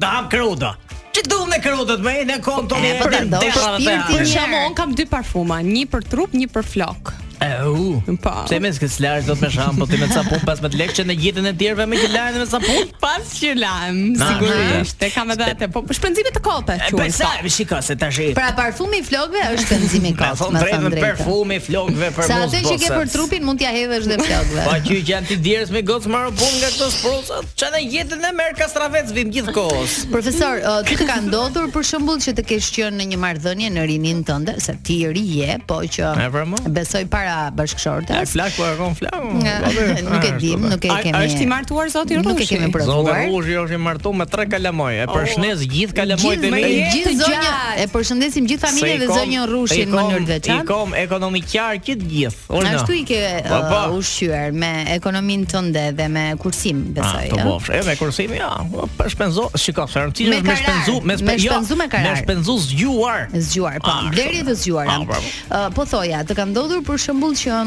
Speaker 5: Da ham kruda. Çi duam ne krudët me në konton
Speaker 3: E,
Speaker 5: e
Speaker 3: po,
Speaker 5: patim
Speaker 3: do
Speaker 5: deshave
Speaker 3: shpirtin
Speaker 5: të
Speaker 2: Për
Speaker 5: hapin.
Speaker 3: Mirë.
Speaker 2: shembull, un kam dy parfuma, një për trup, një për flok.
Speaker 5: E u.
Speaker 2: Po.
Speaker 5: Pse me s'ke lartë do të me shampo, ti me sapun 15 lekë që në jetën e tjerëve me që lartë me sapun?
Speaker 2: (laughs) Pas që lajm,
Speaker 5: Na,
Speaker 2: sigurisht. E kam edhe atë, po shpenzime të kota
Speaker 5: E
Speaker 2: quhen.
Speaker 5: pse, shiko se tash.
Speaker 3: Pra parfumi i flokëve është penzimi
Speaker 5: (laughs)
Speaker 3: i
Speaker 5: Ka
Speaker 3: kot,
Speaker 5: Pra, thonë
Speaker 3: me
Speaker 5: drejtën
Speaker 3: thënë drejtë.
Speaker 5: perfumi, flokëve për
Speaker 3: Sa
Speaker 5: mos
Speaker 3: atë që ke
Speaker 5: bosat.
Speaker 3: për trupin mund t'ja hedhësh dhe flokëve.
Speaker 5: (laughs) Pa që që janë ti djerës me gocë marrë punë nga këto sprosat Që në jetën e merë kastravec vim gjithë kohës
Speaker 3: Profesor, ë, ty të ka ndodhur për shembull që të kesh qenë në një marrëdhënie në rinin tënde, se ti i ri je, po që
Speaker 5: E, pra mo.
Speaker 3: besoj para
Speaker 5: E
Speaker 3: bashkëshortes.
Speaker 5: flak po e kon flak o,
Speaker 3: Nga-
Speaker 5: babe.
Speaker 3: (laughs) Nuk e
Speaker 5: A,
Speaker 3: dim,
Speaker 5: ashtu,
Speaker 3: nuk e
Speaker 2: A-
Speaker 3: kemi.
Speaker 2: Është i martuar zoti Rushi.
Speaker 3: Nuk e kemi
Speaker 5: be.
Speaker 3: provuar. Oh,
Speaker 5: Zotë Rushi është i martu me tre kalamoj E për shnes gjithë kalamoj të
Speaker 2: me
Speaker 5: mi
Speaker 2: jetë
Speaker 3: Gjithë zonja,
Speaker 2: gjatë.
Speaker 3: e përshëndesim gjithë familjen dhe zonjën Rushin në mënyrë të
Speaker 5: I
Speaker 3: veçantë.
Speaker 5: kom ekonomikjar kitë gjithë Orna
Speaker 3: Ashtu i ke
Speaker 5: Po, po.
Speaker 3: uh, ushqyer me ekonominë tënde dhe me kursim,
Speaker 5: A,
Speaker 3: besoj.
Speaker 5: Ah,
Speaker 3: eh?
Speaker 5: të
Speaker 3: ë?
Speaker 5: bofsh. E me kursimi, ja, o, për shpenzo, shiko, se rëndësishme
Speaker 3: Me karar,
Speaker 5: është me shpenzu,
Speaker 3: me
Speaker 5: jo,
Speaker 3: shpenzu me karar.
Speaker 5: Me shpenzu zgjuar.
Speaker 3: Zgjuar, po.
Speaker 5: Ah,
Speaker 3: Blerje të zgjuara.
Speaker 5: Ah, bravo.
Speaker 3: Ë, po thoja, të ka ndodhur për shembull që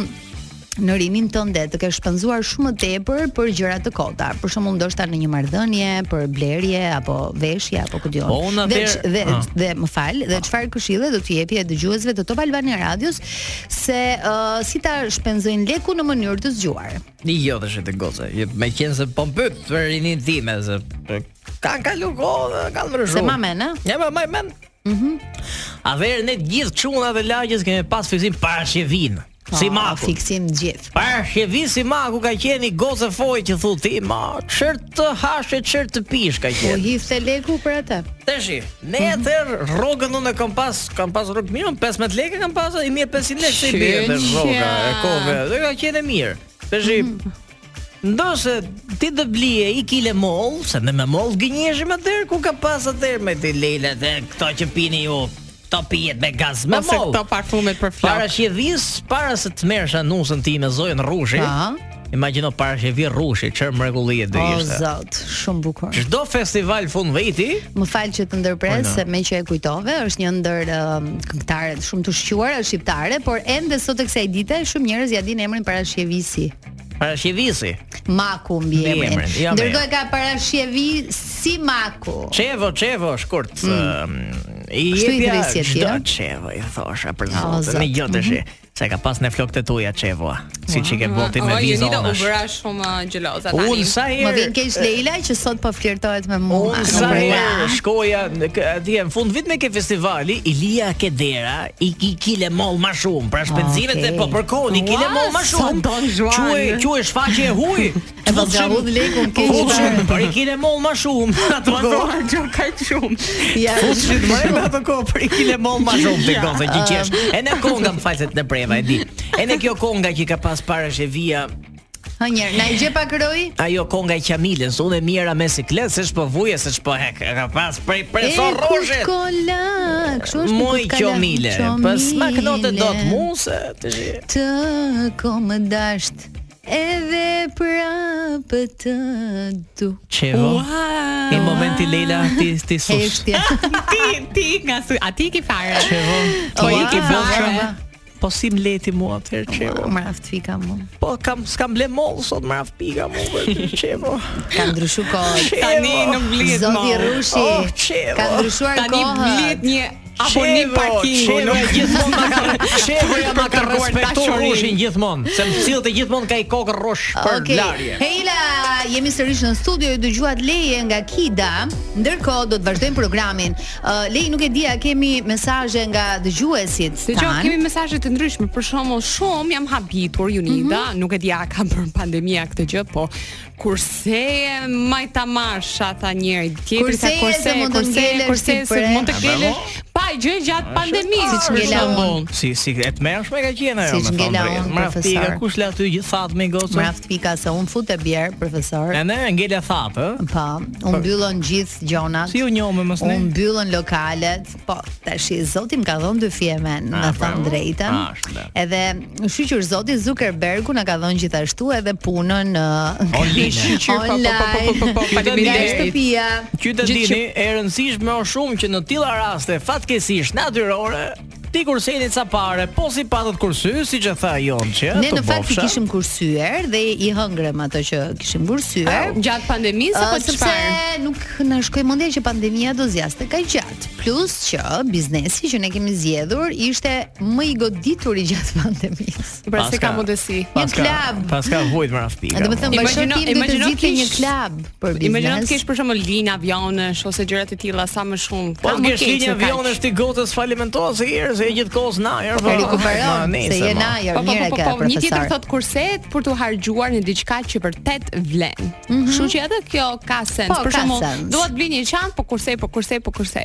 Speaker 3: në rinin tënde të kesh shpenzuar shumë më tepër për gjëra të kota, për shembull ndoshta në një marrëdhënie, për blerje apo veshje apo ku diun.
Speaker 5: Po, unë
Speaker 3: dhe,
Speaker 5: atëherë-
Speaker 3: ç- dhe,
Speaker 5: Ah.
Speaker 3: dhe më fal, dhe çfarë këshille do të jepi e dëgjuesve të Top Albania Radios se uh, si ta shpenzojnë leku në mënyrë të zgjuar.
Speaker 5: Ni jo të shëtë goza. Me qenë se po mpyt për rinin time se ka kalu kohë, kanë më rëshu.
Speaker 3: Se ma men, ë?
Speaker 5: Ja, ma ma men. Mhm. A verë ne të gjithë çunat e lagjes kemi pas fiksim para shevin. Si
Speaker 3: Po,
Speaker 5: maku.
Speaker 3: Fiksim të gjithë.
Speaker 5: Para shevin si maku ka qenë i gocë foj që thu ti, ma çert të hashe, çert të pish ka
Speaker 3: Po
Speaker 5: qenë.
Speaker 3: hifte leku për atë.
Speaker 5: Tashi, ne atëherë rrogën unë e kam pas, kam pas rrogë mirë, unë 15 lekë kam pas, 1500 lekë se i bie
Speaker 2: Qenë
Speaker 5: atë rroga e
Speaker 2: qa.
Speaker 5: kove. Dhe ka qenë e mirë. Tashi, ndoshe ti do blije i kile moll, se ne me moll gënjeshim atëherë ku ka pas atëherë me ti lelat e këto që pini ju. Këto pijet me gaz me
Speaker 2: Ose
Speaker 5: moll.
Speaker 2: këto parfumet për flok.
Speaker 5: Para shjedhis, para se të merresha nusën ti me zojën rrushi.
Speaker 3: Pa.
Speaker 5: Imagjino para shjedhi rrushi, çfarë mrekullie do
Speaker 3: O
Speaker 5: ishte.
Speaker 3: zot, shumë bukur.
Speaker 5: Çdo festival fund viti,
Speaker 3: Më fal që të ndërpres,
Speaker 5: Ojna.
Speaker 3: se me që e kujtove, është një ndër um, këngëtare shumë të shquara shqiptare, por ende sot e kësaj dite shumë njerëz ja dinë emrin Parashjevisi.
Speaker 5: para shjedhisi.
Speaker 3: Maku mbi
Speaker 5: Mbi
Speaker 3: emrin.
Speaker 5: emrin, ja, me.
Speaker 3: Ndërkohë ka Parashjevi si Maku.
Speaker 5: Çevo, çevo, shkurt. Mm. I
Speaker 3: Kështu Po. i
Speaker 5: jepja
Speaker 3: thrisje ti,
Speaker 5: çdo
Speaker 3: a?
Speaker 5: çevo i thosha për
Speaker 3: O,
Speaker 5: zotin.
Speaker 3: zot.
Speaker 5: Me gjotë shi. Sa ka pas në flokët e tua çevoa, siç i ke boti me
Speaker 2: O, Jonida, u
Speaker 5: vizonash.
Speaker 2: bëra shumë uh, gjeloza tani.
Speaker 5: Unë
Speaker 2: (laughs)
Speaker 5: sa herë
Speaker 3: Më vjen keq Leila që sot po flirtohet me mua.
Speaker 5: Unë
Speaker 3: Nuk
Speaker 5: sa
Speaker 3: përra.
Speaker 5: herë shkoja në kë- atje në fund vit me ke festivali, Ilia Kedera i ki kile moll më shumë, pra shpenzimet
Speaker 3: Okej.
Speaker 5: e po përkohën i kile
Speaker 2: Ua,
Speaker 5: moll më
Speaker 2: sa
Speaker 5: shumë.
Speaker 2: don Juan.
Speaker 5: Quaj quaj shfaqje e huj.
Speaker 3: E po mos ja hudh lekun keq fare.
Speaker 5: Por i kile moll më shumë. (laughs) Ato
Speaker 2: Po
Speaker 5: kohë.
Speaker 2: do gjë kaq shumë.
Speaker 3: Ja,
Speaker 5: Fushit
Speaker 3: (laughs)
Speaker 5: më me ato kohë për i kile moll ma shumë të
Speaker 2: Ja.
Speaker 5: gozë që qesh E ne konga më falset në breva, e di E ne kjo konga që ka pas para shevia
Speaker 3: ha një, na i gje pak roj.
Speaker 5: Ajo konga i qamilës Unë e mjera me siklet Se shpo vuje, se shpo hek E ka pas prej
Speaker 3: E
Speaker 5: preso roshet
Speaker 3: kola, kështu është.
Speaker 5: Muj
Speaker 3: kutkola,
Speaker 5: qomile Pës ma knote do të
Speaker 3: qomile.
Speaker 5: mu Se të shi
Speaker 3: të kom dasht edhe prapë të du
Speaker 5: Qevo Në momenti Leila ti, ti sush
Speaker 3: Heshtja
Speaker 2: Ti ti nga sy, a ti ki fare?
Speaker 5: Qevo
Speaker 2: Po i
Speaker 3: Ua,
Speaker 2: ki
Speaker 3: brava.
Speaker 2: fare.
Speaker 5: Po si mleti mua atëherë Qevo
Speaker 3: Më raft fika mu
Speaker 5: Po kam s'kam ble moll sot më raf pika mu për Qevo
Speaker 3: Ka ndryshu kohë
Speaker 2: Tani nuk blihet më.
Speaker 3: Zoti Rushi
Speaker 5: Oh, qevo.
Speaker 3: Ka ndryshuar
Speaker 2: Tani
Speaker 3: kohë
Speaker 2: blihet një abonim parkingu.
Speaker 5: Sheva
Speaker 3: (laughs)
Speaker 2: nuk-
Speaker 5: gjithmonë ma ka Sheva ja
Speaker 2: Për
Speaker 5: ma ka
Speaker 2: kërkuar
Speaker 5: respektuar
Speaker 2: dashurinë.
Speaker 5: rushin gjithmonë, se më sillte gjithmonë ka i kokë rush për
Speaker 3: Okej.
Speaker 5: larje.
Speaker 3: Hejla, jemi sërish në studio, ju dëgjuat Leje nga Kida. Ndërkohë do të vazhdojmë programin. Uh, Leje nuk e di, a kemi mesazhe nga dëgjuesit
Speaker 2: Se që
Speaker 3: tanë?
Speaker 2: kemi mesazhe të ndryshme, për shembull, shumë jam habitur Junida,
Speaker 3: Mhm.
Speaker 2: nuk e di a ka bërë pandemia këtë gjë, po kurse majta marsha tha njëri tjetri
Speaker 3: Kurse, se mund të ngelesh
Speaker 2: kurse
Speaker 3: ti
Speaker 2: se
Speaker 3: për
Speaker 2: mund të
Speaker 5: e.
Speaker 2: ngelesh pa gjë gjatë pandemisë.
Speaker 3: siç
Speaker 2: për
Speaker 3: ngela unë.
Speaker 2: shembull.
Speaker 5: Si si e të mërshme ka qenë ajo
Speaker 3: Si që ngela unë,
Speaker 5: pika
Speaker 3: profesor.
Speaker 5: kush la aty gjithë thatë me gocën.
Speaker 3: Mraft pika se un fut e bjerë, profesor.
Speaker 5: E ne ngela thatë, ë?
Speaker 3: Pa, u mbyllën gjithë gjonat.
Speaker 5: Si u njohëm mos
Speaker 3: U
Speaker 5: ne?
Speaker 3: mbyllën lokalet, po tash i Zoti më ka dhënë dy fjemen,
Speaker 5: Ah,
Speaker 3: më thon
Speaker 5: bravo.
Speaker 3: drejtën.
Speaker 5: Ah, është bler.
Speaker 3: Edhe shqyqur Zoti Zuckerbergu na ka dhënë gjithashtu edhe punën ë, (laughs)
Speaker 5: Online.
Speaker 2: Shqyqyr, po, po, po, po, po, po,
Speaker 5: Online.
Speaker 3: nga
Speaker 5: Faleminderit.
Speaker 2: Faleminderit.
Speaker 3: shtëpia.
Speaker 5: Ky të
Speaker 2: Gjithë
Speaker 5: dini, e rëndësishme është shumë që në tilla raste fatkeqësisht natyrore ti kurseni ca pare, po si patët kursy, siç e tha Jonçi,
Speaker 3: Ne
Speaker 5: të
Speaker 3: në fakt i
Speaker 5: bofsha.
Speaker 3: kishim kursyer dhe i hëngrem ato që kishim kursyer.
Speaker 2: Gjatë pandemisë apo
Speaker 3: Ë,
Speaker 2: po, çfarë?
Speaker 3: sepse nuk na shkoi mendja që pandemia do zjaste kaq gjatë. Plus që biznesi që ne kemi zgjedhur ishte më i goditur i gjatë (laughs) pandemisë.
Speaker 2: Pra se
Speaker 5: Paska-
Speaker 2: ka mundësi.
Speaker 5: paska-
Speaker 3: klab.
Speaker 5: Paska vujt më rafpika.
Speaker 3: Do të thënë bashkë
Speaker 2: Imagjino-
Speaker 3: tim do të
Speaker 2: imagjino
Speaker 3: zgjidhte
Speaker 2: kish-
Speaker 3: një klub për biznes.
Speaker 2: Imagjino të kesh për shembull linjë avionesh ose gjëra të tilla sa më shumë.
Speaker 5: Po
Speaker 2: Ka
Speaker 5: të
Speaker 2: më
Speaker 5: kesh
Speaker 2: keq
Speaker 5: linjë
Speaker 2: se kaq.
Speaker 5: avionesh ti gotës falimentohet se herë se e gjithkohës na herë
Speaker 3: Po rikuperon, se je na,
Speaker 2: Po,
Speaker 3: jo,
Speaker 2: po,
Speaker 3: mirë e
Speaker 2: po,
Speaker 3: ke,
Speaker 2: po, po, një tjetër
Speaker 3: profesor.
Speaker 2: thot kurset për të harxuar në diçka që vërtet vlen. Kështu që edhe kjo ka sens.
Speaker 3: Mhm. Po,
Speaker 2: për
Speaker 3: ka
Speaker 2: shembull,
Speaker 3: sens.
Speaker 2: dua të blij një çantë, po kurse, po kurse, po kurse.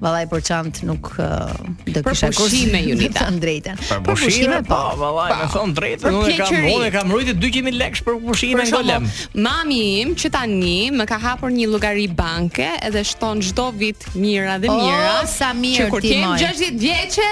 Speaker 3: Vallai për çant nuk uh, do
Speaker 2: Për
Speaker 3: kisha
Speaker 2: pushime,
Speaker 3: me
Speaker 2: Junita.
Speaker 3: (laughs) Të drejtën.
Speaker 5: Për pushime po, vallaj, me thon
Speaker 2: Për
Speaker 5: drejtën, unë e kam
Speaker 2: pleqëri.
Speaker 5: unë e kam rritë 200.000 lekë për pushime
Speaker 2: Për
Speaker 5: në golem.
Speaker 2: shembull, mami im që tani më ka hapur një llogari banke edhe shton çdo vit mira dhe
Speaker 3: O,
Speaker 2: mira.
Speaker 3: sa mirë
Speaker 2: që kur
Speaker 3: ti,
Speaker 2: jem
Speaker 3: moj.
Speaker 2: 60 vjeçe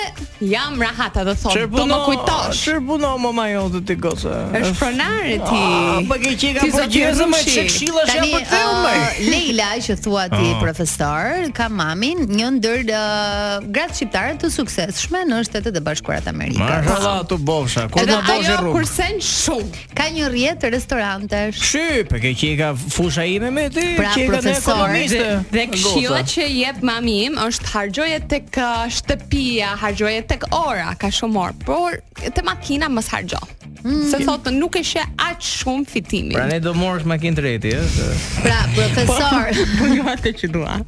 Speaker 2: jam rahata dhe thon, do po, më kujtosh.
Speaker 5: çer puno mama jote ti gocë.
Speaker 2: Është pronare ti.
Speaker 5: Ah, po ke qika
Speaker 2: Ti
Speaker 5: për
Speaker 2: zoti
Speaker 5: gjëzë më
Speaker 2: Rushi.
Speaker 5: çe këshilla
Speaker 3: (laughs)
Speaker 5: që po
Speaker 3: Tani
Speaker 5: apo theu më.
Speaker 3: ë, Leila që thua ti
Speaker 5: Ah.
Speaker 3: profesor ka mamin një ndër uh, gratë shqiptare të suksesshme në Shtetet e Bashkuara të Amerikës.
Speaker 5: Mashallah tu bofsha. Kur
Speaker 3: Edhe
Speaker 5: do bosh
Speaker 2: Ajo
Speaker 5: Po rrugë?
Speaker 2: kursen shumë.
Speaker 3: Ka një rjetë restorantesh.
Speaker 5: Shqip, e ke qika fusha ime me ti,
Speaker 3: Pra,
Speaker 5: qika në
Speaker 3: profesor,
Speaker 5: ekonomiste.
Speaker 2: Dhe këshilla
Speaker 5: Goca.
Speaker 2: që jep mami im është harxoje tek uh, shtëpia, harxoje tek ora, ka shumë orë, por te makina mos harxo. Se thotë nuk e sheh aq shumë fitimin.
Speaker 5: Mm. Pra ne do morësh makinë treti, ëh.
Speaker 3: Pra, profesor,
Speaker 2: (laughs) po jo atë që dua.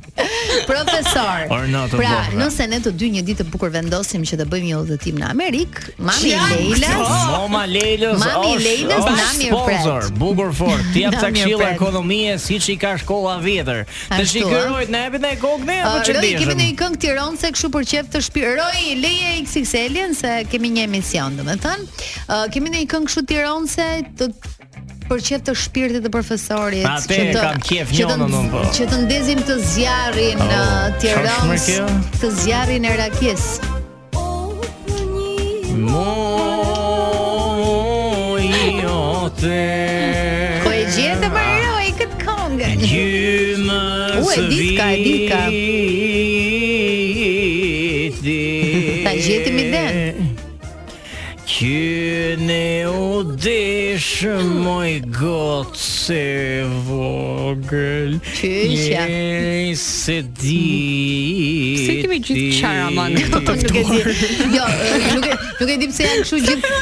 Speaker 3: profesor.
Speaker 5: Or not, o
Speaker 3: pra,
Speaker 5: bofra.
Speaker 3: nëse ne të dy një ditë të bukur vendosim që të bëjmë një udhëtim në Amerikë, mami i
Speaker 2: po,
Speaker 3: Lejlas,
Speaker 5: Oh, Mama Lelës,
Speaker 3: Mami
Speaker 5: është-
Speaker 3: Lejlës
Speaker 5: është
Speaker 3: na mirëpret.
Speaker 5: Sponsor, bukur fort. Ti jap
Speaker 3: Na
Speaker 5: ca këshilla
Speaker 3: mirëpret.
Speaker 5: ekonomie siç i ka shkolla vjetër. Të
Speaker 3: Ashtu,
Speaker 5: shikërojt na japin ai kokë ne
Speaker 2: po,
Speaker 5: apo
Speaker 3: Ë,
Speaker 5: ç'di?
Speaker 3: Roi, kemi ndonjë këngë Tiranë se kështu për qejf të shpi. Roi, leje XXL-in se kemi një emision, domethënë. Uh, kemi ndonjë këngë kështu Tiranë se të për qejf të shpirtit të profesorit,
Speaker 5: Pra, atë kam qejf
Speaker 3: që të,
Speaker 5: njonën unë, po.
Speaker 3: që të ndezim të zjarrin
Speaker 5: Oh,
Speaker 3: oh, Tiranës,
Speaker 5: shokshme kjo.
Speaker 3: të zjarrin e Rakis.
Speaker 5: Mojote
Speaker 3: Po e gjetë më Roi këtë këngë. U,
Speaker 5: Gjymës
Speaker 3: e dit ka, e dit ka.
Speaker 5: viti
Speaker 3: Ta gjetim iden.
Speaker 5: Që ne u desh moj gotë se vogël
Speaker 3: Qyqja.
Speaker 5: Njeri se di
Speaker 2: Si kemi gjithë qaraman këto të
Speaker 3: Po, Nuk e di. Jo, ë, nuk e nuk e di pse janë kështu gjithë gjithë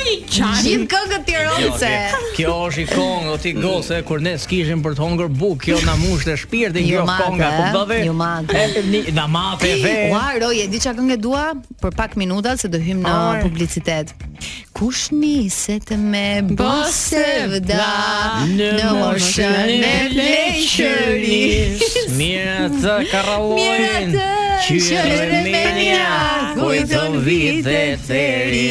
Speaker 3: këngët
Speaker 5: Jo,
Speaker 3: Tiranëse.
Speaker 5: Kjo është i kongë, o ti gose, kur ne s'kishim për të hongër buk, kjo na mushte shpirtin,
Speaker 3: Ju
Speaker 5: kjo
Speaker 3: mate,
Speaker 5: konga, kuptove?
Speaker 3: ju mate.
Speaker 5: E, ni- Na mate ve.
Speaker 3: Ua, Roje, di çka këngë dua për pak minuta se do hym në
Speaker 5: Ar.
Speaker 3: publicitet. Kush niset me bose vda
Speaker 5: Në
Speaker 3: në moshën e leqëris
Speaker 5: leqëris Mirë të
Speaker 3: Mirë
Speaker 5: karallojnë
Speaker 3: atë qyre me nja, kujton vitet e ri.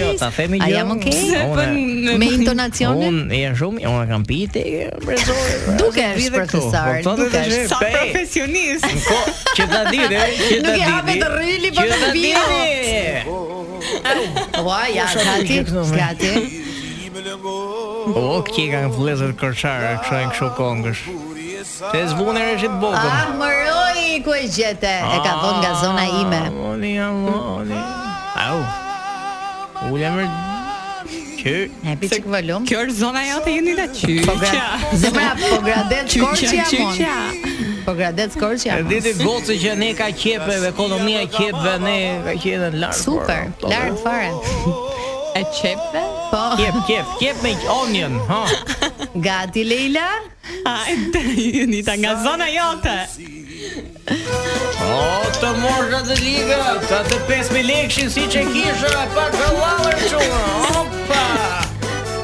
Speaker 5: Jo, ta themi
Speaker 3: A
Speaker 5: jo
Speaker 3: jam okay?
Speaker 2: Se po
Speaker 5: Unë-
Speaker 2: në-
Speaker 3: me intonacionin?
Speaker 5: Unë jam shumë, unë e kam piti, brezore Po,
Speaker 3: Dukesh, profesor, dukesh.
Speaker 2: sa profesionist.
Speaker 5: Ko, që ta dini,
Speaker 3: (laughs)
Speaker 5: që ta
Speaker 3: Nuk i
Speaker 5: dini.
Speaker 3: hapet rrili, po
Speaker 5: që
Speaker 3: të
Speaker 5: ta
Speaker 3: vino.
Speaker 5: dini.
Speaker 3: Ua, ja,
Speaker 5: Kush është
Speaker 3: gati,
Speaker 5: kjo këtu, me?
Speaker 3: gati.
Speaker 5: O, kje kanë vlezër kërçarë, kështu janë kështu kongësh. Te zbunë reshit
Speaker 3: Ah,
Speaker 5: bokën.
Speaker 3: më roj, ku e gjete? E ka vonë nga zona ime.
Speaker 5: Ah, Moni, moni. Au. Ula më Kë
Speaker 3: E pi çik volum.
Speaker 2: Kjo është zona jote jeni la
Speaker 3: Po gra-
Speaker 2: qyçja.
Speaker 3: zemra po gradet korçi
Speaker 2: Qyçja,
Speaker 3: amon.
Speaker 2: qyçja.
Speaker 3: Po gradet korçi
Speaker 5: E
Speaker 3: amon.
Speaker 5: diti gocë që ne ka qepe dhe ekonomia qepe ne ka qenë larg. po,
Speaker 3: Super,
Speaker 5: por,
Speaker 3: lart fare.
Speaker 2: E çepve?
Speaker 3: Po,
Speaker 5: Qep, qep, qep me onion, ha.
Speaker 3: gati Leila.
Speaker 2: Hajde, jeni ta nga zona jote.
Speaker 5: O, të morsha të liga, ta të 5.000 lekshin si që kisha, pa ka lavër quma, opa!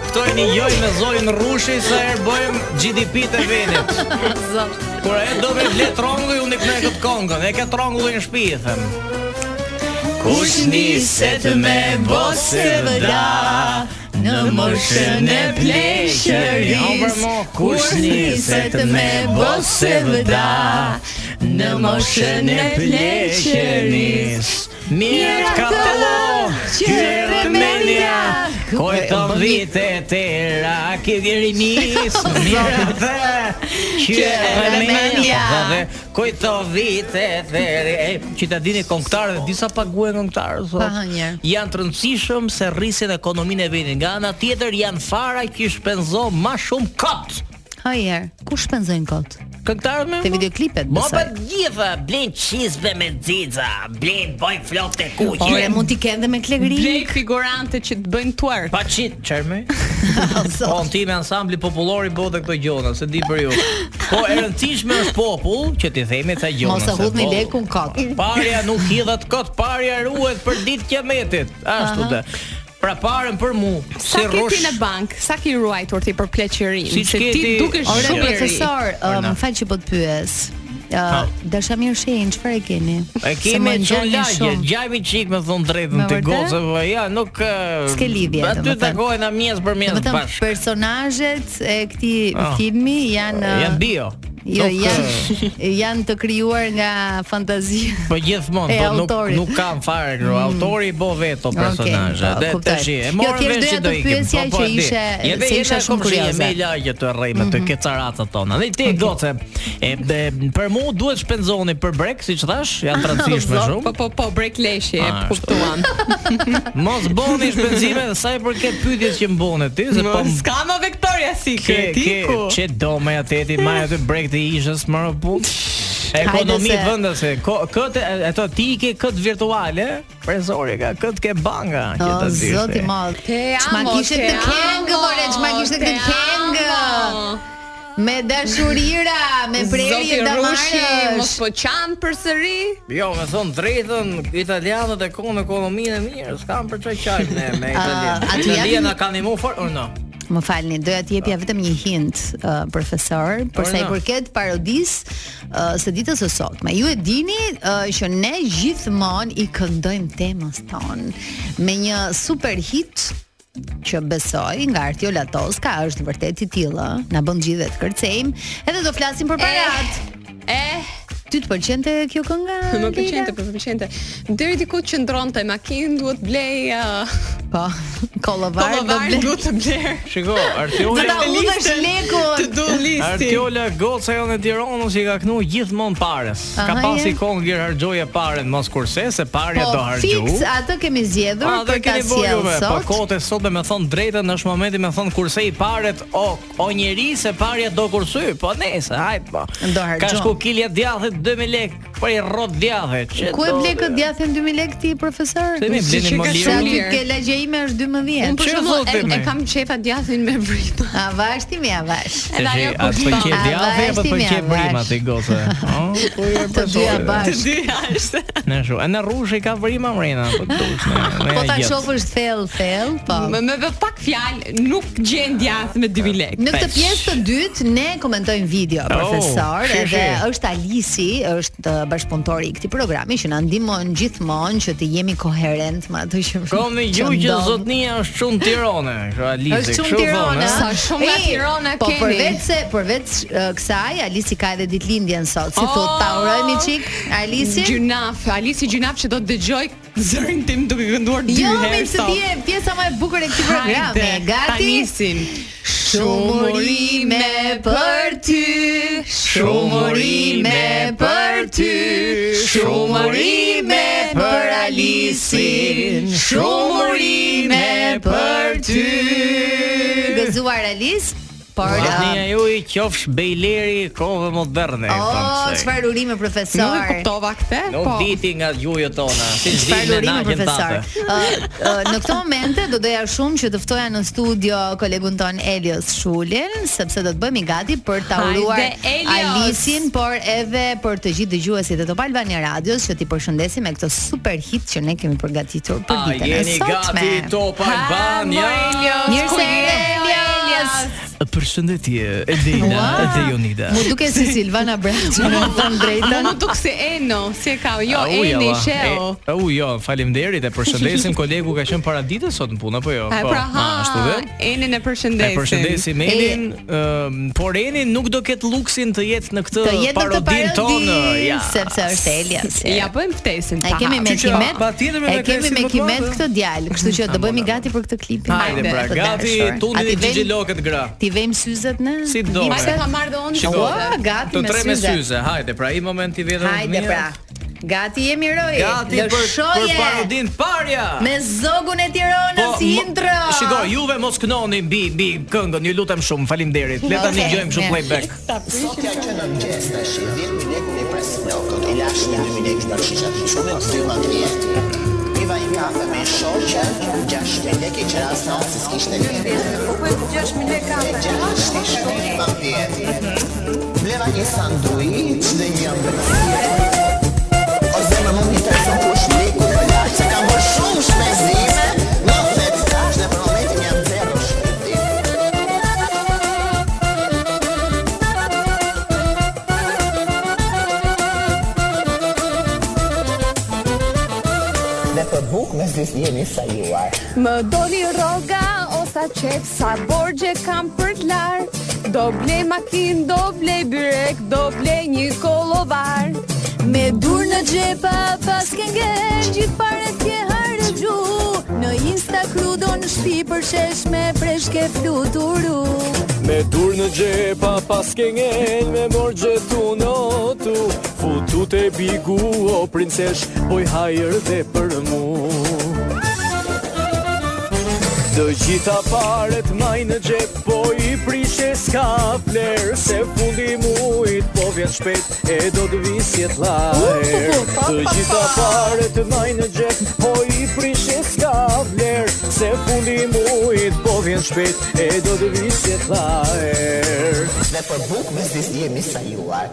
Speaker 5: Këto e një joj me zojnë rushi, sa erë bëjmë GDP të venit. Kur e do me vle trongu, unë i këne këtë kongën, e këtë trongu në shpi, e them. Kush niset me bose vëda,
Speaker 3: Në moshën e pleshëris
Speaker 5: Kush niset me bose vëda Në moshën e pleshëris Mirë ka pëllo Qërë me nja Kojton vitet e rakit i (laughs) rinis Mirë të Qërë me nja Kojton vitet e rakit Që ta dini këngëtarë dhe disa paguhe këngëtarë
Speaker 3: Pa hënjer.
Speaker 5: janë të rëndësishëm se rrisin ekonominë e vendit. Nga ana tjetër janë fara që shpenzon më shumë kot.
Speaker 3: Hajer, ku shpenzojnë kot?
Speaker 5: Këngëtarët me
Speaker 3: Te videoklipet
Speaker 5: Ma pa
Speaker 3: besoj.
Speaker 5: gjitha, blin qizbe me xixa, blin boj flokë të kuqe.
Speaker 3: Ore mund t'i kenë dhe me
Speaker 2: Blej
Speaker 3: klegri. (laughs)
Speaker 2: figurante që të bëjnë twerk.
Speaker 5: Pa qit, çerme.
Speaker 3: Oh,
Speaker 5: Po në time ansambli popullor i bote këto gjona, se di për ju. Po e rëndësishme është popull që t'i themi ca gjona.
Speaker 3: Mos e
Speaker 5: se
Speaker 3: hudhni
Speaker 5: po-
Speaker 3: lekun kot.
Speaker 5: Parja nuk hidhet kot, parja ruhet për ditë kiametit. Ashtu të. Pra parën për mu,
Speaker 2: Sa
Speaker 5: si
Speaker 2: ke ti
Speaker 5: rrosh
Speaker 2: në bank? Sa ke ruajtur ti për pleqërinë?
Speaker 5: Si
Speaker 2: Se
Speaker 5: që
Speaker 2: ti
Speaker 5: ti-
Speaker 2: dukesh
Speaker 3: Ore
Speaker 2: shumë i ri.
Speaker 3: profesor, ë,
Speaker 5: Orna.
Speaker 3: më fal që po të pyes. Uh, Dashamir Shein, çfarë e keni?
Speaker 5: E
Speaker 3: Se më
Speaker 5: kemi çon
Speaker 3: ngjani
Speaker 5: lagje,
Speaker 3: shumë.
Speaker 5: gjajmi çik me thon drejtën
Speaker 3: Me
Speaker 5: te
Speaker 3: vërtet?
Speaker 5: gocë, po ja, nuk e,
Speaker 3: S'ke lidhje,
Speaker 5: Aty
Speaker 3: domethënë.
Speaker 5: takohen na mjes për
Speaker 3: Do
Speaker 5: mjes
Speaker 3: të thënë
Speaker 5: bashkë.
Speaker 3: personazhet e këtij
Speaker 5: Ah.
Speaker 3: filmi janë ë,
Speaker 5: Janë bio.
Speaker 3: Jo,
Speaker 5: Nuk,
Speaker 3: janë janë të krijuar nga fantazia.
Speaker 5: Po gjithmonë,
Speaker 3: E
Speaker 5: po nuk
Speaker 3: autorit. Mm.
Speaker 5: nuk kam fare kështu. Autori i bo vetë o personazhe.
Speaker 3: po,
Speaker 5: Dhe
Speaker 3: kuptoj.
Speaker 5: tash i- e
Speaker 3: Jo,
Speaker 5: morën
Speaker 3: thjesht
Speaker 5: vesh që
Speaker 3: doja
Speaker 5: do
Speaker 3: të
Speaker 5: ikim.
Speaker 3: pyesja
Speaker 5: Po, po,
Speaker 3: që
Speaker 5: e di.
Speaker 3: ishe-
Speaker 5: Jeve
Speaker 3: se isha
Speaker 5: jena
Speaker 3: shumë
Speaker 5: komshie,
Speaker 3: kurioze. Mhm.
Speaker 5: Me lagje të rrejme të kecaratat tona. Dhe ti goce. E e, për mua duhet shpenzoni për brek, siç thash,
Speaker 3: (laughs)
Speaker 5: janë të rëndësishme
Speaker 3: Zot,
Speaker 5: shumë.
Speaker 2: Po po po break leshi, e
Speaker 5: Ah,
Speaker 2: kuptuam.
Speaker 5: Mos boni shpenzime dhe sa i përket pyetjes që mbonë ti, se po m-
Speaker 2: S'ka më Victoria Secret.
Speaker 5: ke
Speaker 2: iku.
Speaker 5: çe do me ateti marr aty break të ishës më pun.
Speaker 3: Hajde
Speaker 5: Ekonomi
Speaker 3: se-
Speaker 5: vendase. Ko- Këtë ato ti i ke kët virtuale, presori ka kët ke banga që
Speaker 3: O
Speaker 5: ta dish.
Speaker 3: zoti
Speaker 5: e.
Speaker 3: madh.
Speaker 2: Te
Speaker 3: Çma
Speaker 2: amo,
Speaker 3: kishte
Speaker 2: te
Speaker 3: këtë kengë,
Speaker 2: amo,
Speaker 3: more, çma kishte
Speaker 2: te
Speaker 3: këtë kengë.
Speaker 2: amo.
Speaker 3: Me dashurira, me prerje
Speaker 2: Zoti Rushi
Speaker 3: damarësh.
Speaker 2: mos po qan përsëri.
Speaker 5: Jo, me thon drejtën, italianët e kanë ekonominë e mirë, s'kan për çfarë qajmë ne
Speaker 3: (laughs)
Speaker 5: me italianë.
Speaker 3: aty janë-
Speaker 5: Italiana kanë imu fort, or no.
Speaker 3: Më falni, doja t'jepja vetëm një hint, uh, profesor, për sa i
Speaker 5: Orna.
Speaker 3: përket parodis uh, së ditës së sotme. Ju e dini uh, që ne gjithmonë i këndojmë temës tonë me një super hit që besoj nga Artiola Toska është vërtet i tilla, na bën gjithë të kërcejmë, edhe do flasim
Speaker 5: Eh.
Speaker 3: për parat.
Speaker 2: E
Speaker 3: Ty të pëlqente kjo kënga?
Speaker 2: Më
Speaker 3: Leila?
Speaker 2: pëlqente, po pëlqente. Deri diku që ndronte makinë duhet blej uh,
Speaker 3: Po, kollovar do
Speaker 2: kollovar
Speaker 3: ble.
Speaker 2: duhet të
Speaker 5: (laughs)
Speaker 2: bler.
Speaker 5: Shiko,
Speaker 3: Do ta
Speaker 5: Artiola
Speaker 3: udhësh lekun.
Speaker 2: Të do listi.
Speaker 5: Artiola goca jonë e Tiranës i ka knu gjithmonë pares. Ka
Speaker 3: Aha,
Speaker 5: pasi
Speaker 3: je.
Speaker 5: konger harxhoje paren mos kurse se parja do
Speaker 3: Po,
Speaker 5: harxhu.
Speaker 3: fix atë kemi zgjedhur
Speaker 5: A dhe
Speaker 3: për ta
Speaker 5: keni bërë
Speaker 3: sjellë
Speaker 5: juve, po
Speaker 3: sot.
Speaker 5: kote sot me me thonë drejtën është momenti me thonë kurse i paret o, o njeri se parja do kursy, po nese, hajt po.
Speaker 3: Do harxhon.
Speaker 5: Ka shku kilja djathit 2000 lek, për i rrot djathit. që
Speaker 3: Ku e
Speaker 5: do-
Speaker 3: ble kët djathin 2000 lekë ti profesor?
Speaker 5: Se mi
Speaker 2: Si
Speaker 5: bleni
Speaker 2: që
Speaker 5: më
Speaker 2: ka
Speaker 3: Se
Speaker 5: lirë.
Speaker 2: shumë
Speaker 3: aty
Speaker 2: mirë.
Speaker 3: ke lagje ime është 12.
Speaker 2: Unë për
Speaker 5: Që
Speaker 2: shembull
Speaker 5: thotë
Speaker 2: e- e
Speaker 5: me?
Speaker 2: kam qefa djathin me vritë.
Speaker 3: Avash ti mi avash.
Speaker 5: Të
Speaker 2: Edhe
Speaker 5: gjej,
Speaker 2: ajo
Speaker 5: a të pëlqej
Speaker 2: kupton.
Speaker 5: djathi apo të
Speaker 3: Avash,
Speaker 5: pëlqej
Speaker 3: timi,
Speaker 5: brim
Speaker 3: avash.
Speaker 5: aty
Speaker 3: (laughs)
Speaker 5: goce? Oh, po je
Speaker 3: Të dyja
Speaker 5: personale.
Speaker 3: bash.
Speaker 2: Dyja (laughs) është.
Speaker 5: Në shu, e në rrushi ka vrima mrena, po dush. ne- ne
Speaker 3: Po
Speaker 5: e
Speaker 3: ta
Speaker 5: gjetë.
Speaker 3: shohësh thell thell, po.
Speaker 2: Më me vë pak fjalë nuk gjen djath me 2000 lekë.
Speaker 3: Në këtë
Speaker 5: Pesh.
Speaker 3: pjesë të dytë ne komentojmë video profesor
Speaker 5: Oh, shi,
Speaker 3: edhe
Speaker 5: shi.
Speaker 3: është Alisi, është uh, bashkëpunëtori i këtij programi që na ndihmon gjithmonë që të jemi koherent me atë që
Speaker 5: Kom në gju që
Speaker 3: ndodh.
Speaker 5: zotnia është shumë Tirane, kështu Alizi,
Speaker 3: Është shumë
Speaker 5: kështu
Speaker 3: Tirana.
Speaker 5: thonë,
Speaker 2: Sa shumë nga
Speaker 3: Ej,
Speaker 2: Tirana
Speaker 3: po,
Speaker 2: keni.
Speaker 3: Po përveç se përveç uh, kësaj Alisi ka edhe ditëlindjen sot. Si
Speaker 2: Oh!
Speaker 3: thot ta urojmë çik Alisi?
Speaker 2: Gjynaf, Alisi Gjynaf që do të dëgjoj zërin tim duke kënduar dy
Speaker 3: Jo,
Speaker 2: herë
Speaker 3: mi se
Speaker 2: sot.
Speaker 3: ti je pjesa më e bukur e këtij programi.
Speaker 2: Hajde, Ta
Speaker 3: Gati.
Speaker 2: nisim.
Speaker 3: Shumë urime për ty. Shumë urime për ty. Shumë urime për Alisin. Shumë urime për ty. Gëzuar Alis. Por
Speaker 5: Zotnia
Speaker 3: uh,
Speaker 5: ju i qofsh bejleri i kohëve moderne.
Speaker 3: Oh,
Speaker 5: thonë se.
Speaker 3: çfarë urime
Speaker 2: Nuk e
Speaker 3: profesor.
Speaker 2: kuptova këtë,
Speaker 5: Nuk
Speaker 2: po.
Speaker 5: diti nga gjuhët tona, si
Speaker 3: Çfarë
Speaker 5: zdinë na
Speaker 3: urime
Speaker 5: gjen
Speaker 3: profesor.
Speaker 5: tatë.
Speaker 3: Ë, (laughs) ë, në këto momente do doja shumë që të ftoja në studio kolegun ton Elios Shulin, sepse do të bëhemi gati për ta
Speaker 2: Hajde,
Speaker 3: uruar
Speaker 2: Elios!
Speaker 3: Alisin, por edhe për të gjithë dëgjuesit e Top Albania Radios që ti përshëndesim me këtë super hit që ne kemi përgatitur për
Speaker 5: A
Speaker 3: ditën e
Speaker 5: jeni
Speaker 3: sotme.
Speaker 5: gati Top Albania?
Speaker 3: Mirë se erdhe, Elios.
Speaker 5: Përshëndetje, Elena
Speaker 3: Ua,
Speaker 5: dhe Jonida.
Speaker 3: Mu duke si Silvana
Speaker 5: (laughs)
Speaker 3: Braçi, më thon
Speaker 2: Mu
Speaker 3: drejtën.
Speaker 2: më duk se Eno, si e ka, jo,
Speaker 5: Au,
Speaker 2: Eni,
Speaker 5: java.
Speaker 2: Sheo.
Speaker 5: E- Au jo, faleminderit e përshëndesim
Speaker 3: (laughs)
Speaker 5: kolegu ka qenë para ditës sot në punë apo jo?
Speaker 2: A
Speaker 5: Po,
Speaker 2: pra ha,
Speaker 5: a, ashtu dhe.
Speaker 2: Enin e
Speaker 5: E
Speaker 2: përshëndesim.
Speaker 5: përshëndesim Enin, ëm, por Enin nuk do ket luksin të jetë në këtë
Speaker 3: Të jetë në këtë
Speaker 5: parodin tonë.
Speaker 3: parodi,
Speaker 5: Ja.
Speaker 3: sepse është Elias.
Speaker 2: Ja bëjmë ftesën.
Speaker 3: E
Speaker 2: pa
Speaker 3: kemi me
Speaker 5: Kështu që,
Speaker 3: kimet.
Speaker 5: patjetër me
Speaker 3: E
Speaker 5: me
Speaker 3: kemi
Speaker 5: Klesin
Speaker 3: me
Speaker 5: më të
Speaker 3: kimet
Speaker 5: madhe.
Speaker 3: këtë djalë, kështu që do bëhemi gati për këtë klipin.
Speaker 5: Hajde pra,
Speaker 3: të
Speaker 5: gati
Speaker 3: dashur. A
Speaker 5: tunin
Speaker 3: ti
Speaker 5: e
Speaker 3: vejmë-
Speaker 5: xhigjilokët gra.
Speaker 3: Ti vejm syzet ne?
Speaker 5: Si do,
Speaker 2: hap. Pastaj
Speaker 5: Ore.
Speaker 2: ka marrë dhe unë
Speaker 5: Shiko,
Speaker 3: Ua,
Speaker 2: shkollën.
Speaker 3: gati
Speaker 5: të
Speaker 3: me
Speaker 5: tre me
Speaker 3: syze.
Speaker 5: syze. Hajde pra, i momenti vjetër.
Speaker 3: Hajde pra. Gati jemi roi.
Speaker 5: Gati për, për
Speaker 3: Lëshoje
Speaker 5: parodin parja. Po,
Speaker 3: Me zogun e Tiranës si
Speaker 5: mo-
Speaker 3: intro.
Speaker 5: Shiko, juve mos kënoni mbi mbi këngën, ju lutem shumë, faleminderit. Le ta
Speaker 3: Okay,
Speaker 5: dëgjojmë kështu
Speaker 3: mirë.
Speaker 5: playback.
Speaker 6: Sotja që në mëngjes tash, 10 minutë në pres plakët, e lash në 2 minutë në shisha, shumë në 12 minutë. Piva i kafe me shoqe, 6 minutë që qëra sonë, se s'kishtë në mirë. Po për 6 minutë kafe. 6 minutë Bleva një sanduic dhe një mbësire. O zemë më një tërë ku shliku, për lash që kam bërë shumë shpezime, në dhe të tash dhe për momentin jam zero shpëtim. Dhe për buk me zis jeni sa juar.
Speaker 7: Më doli roga ose
Speaker 2: sa qep, sa borgje kam për t'lar Do blej makin, do blej byrek, do blej një kolovar
Speaker 3: Me dur në xhepa pas ke ngel Gjithë pare t'je harë gju Në insta krudo në shpi për shesh me preshke fluturu
Speaker 7: Me dur në gjepa pas ke ngel Me mor gjetu në tu Futu të bigu o princesh Boj hajër dhe për mu Të gjitha paret maj në gjep Po i prishe s'ka fler Se fundi mujt po vjen shpet E do të visjet lajr Të gjitha paret maj në gjep Po i prishe s'ka fler Se fundi mujt po vjen shpet E do të visjet lajr
Speaker 6: Dhe për buk biznis jemi sa juar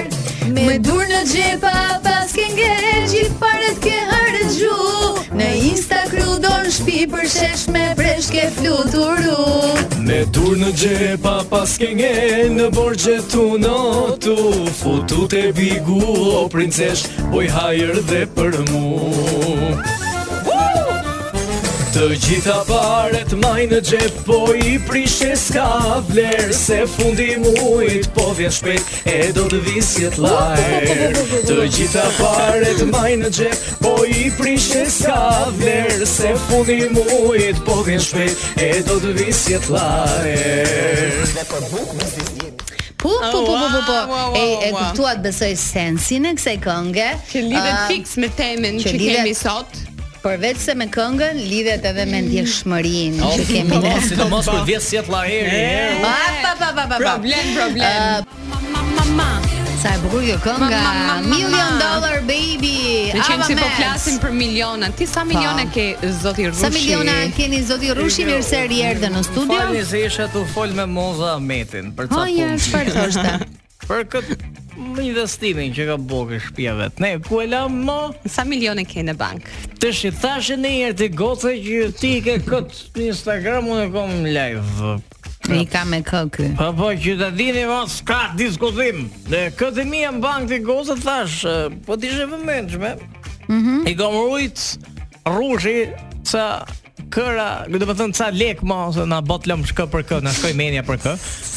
Speaker 3: Me dur në xhepa pas ke ngel Gjithë paret ke harë gju Në insta krudo në shpi për shesh me preshke fluturu
Speaker 7: Me dur në gjepa pas ke ngel Në borgje tu në tu Futu të bigu o princesh Boj hajër dhe për mu Të gjitha paret maj në gjep Po i prishe s'ka vler Se fundi mujt po vjen shpejt E do të visjet lajr Të gjitha paret maj në gjep Po i prishe s'ka vler Se fundi mujt po vjen shpejt E do të visjet lajr
Speaker 3: Po, po, po, po, po,
Speaker 5: Ah,
Speaker 3: po.
Speaker 2: Ua, ua, ua,
Speaker 3: E, e
Speaker 2: ua.
Speaker 3: kuptuat besoj sensin e kësaj kënge
Speaker 2: Që lidhet
Speaker 3: Ah,
Speaker 2: fix me temën
Speaker 3: që
Speaker 2: që,
Speaker 3: lidhet-
Speaker 2: kemi sot
Speaker 3: Përveç se me këngën lidhet edhe me ndjeshmërinë
Speaker 2: Oh,
Speaker 3: që kemi ne
Speaker 5: Mos, sidomos kur vjes jet laheri.
Speaker 3: Ah, Pa, pa, pa, pa, Ah. pa, pa.
Speaker 2: Problem, problem Ma, ma, ma
Speaker 3: Sa e bukur kjo kënga
Speaker 2: Ma, ma, ma, ma, ma.
Speaker 3: Million Dollar Baby
Speaker 2: Në qenë
Speaker 3: Ava
Speaker 2: si po
Speaker 3: Max. Po.
Speaker 2: flasim për miliona Ti sa miliona ke zoti Rushi?
Speaker 3: Sa miliona keni zoti Rushi mirë se rierdhe në studio
Speaker 5: Falni se isha tu fol me Moza Ahmetin për ca
Speaker 2: po
Speaker 3: Ha ja,
Speaker 5: punë.
Speaker 3: çfarë thoshte?
Speaker 5: Për këtë investimin që ka bërë kë shtëpia vet. Ne ku e lam mo?
Speaker 2: Sa milione ke në bank?
Speaker 5: Të shi thashë në herë ti goce që ti ke këtë Instagram unë e kam live.
Speaker 3: Ai ka me kë ky.
Speaker 5: Po po që ta dini mos ka diskutim. Dhe këtë mia në bank ti goce thash, e, po ti je vëmendshme. Mhm. I kam rujt rrushi sa këra, do të thënë ca lek mo se na bot lëm shkë për kë, na shkoj menja për kë.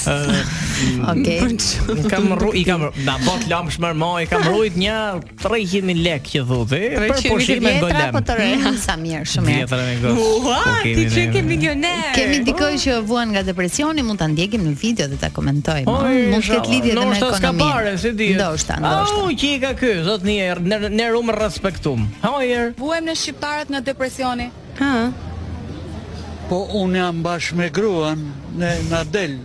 Speaker 5: Ë
Speaker 2: Mm,
Speaker 3: Okej.
Speaker 5: Unë kam rru, i kam na bot lam shmërmoj, kam rujt një 300.000 lek që thotë, për
Speaker 2: 300.000
Speaker 5: pushime në
Speaker 3: Vjetra
Speaker 5: golem.
Speaker 3: po të re,
Speaker 2: Mm.
Speaker 3: sa mirë, shumë mirë.
Speaker 5: Vjetra me gol.
Speaker 2: Ua,
Speaker 5: Po kemi
Speaker 2: ti që
Speaker 5: ne-
Speaker 2: ke milioner
Speaker 3: Kemi dikoj që vuan nga depresioni, mund ta ndjekim në video dhe ta komentojmë.
Speaker 5: Oj,
Speaker 3: mund të
Speaker 5: inshallah.
Speaker 3: ketë lidhje edhe me
Speaker 5: Po, Ndoshta s'ka
Speaker 3: ekonominë.
Speaker 5: pare, si dihet.
Speaker 3: Ndoshta,
Speaker 2: Ah,
Speaker 3: ndoshta.
Speaker 5: Au, që i ka ky, zot një ne ne rum respektum. Hojer.
Speaker 8: Vuem në shqiptarët nga depresioni.
Speaker 2: Ha,
Speaker 9: Po unë jam bashkë me gruan në na del.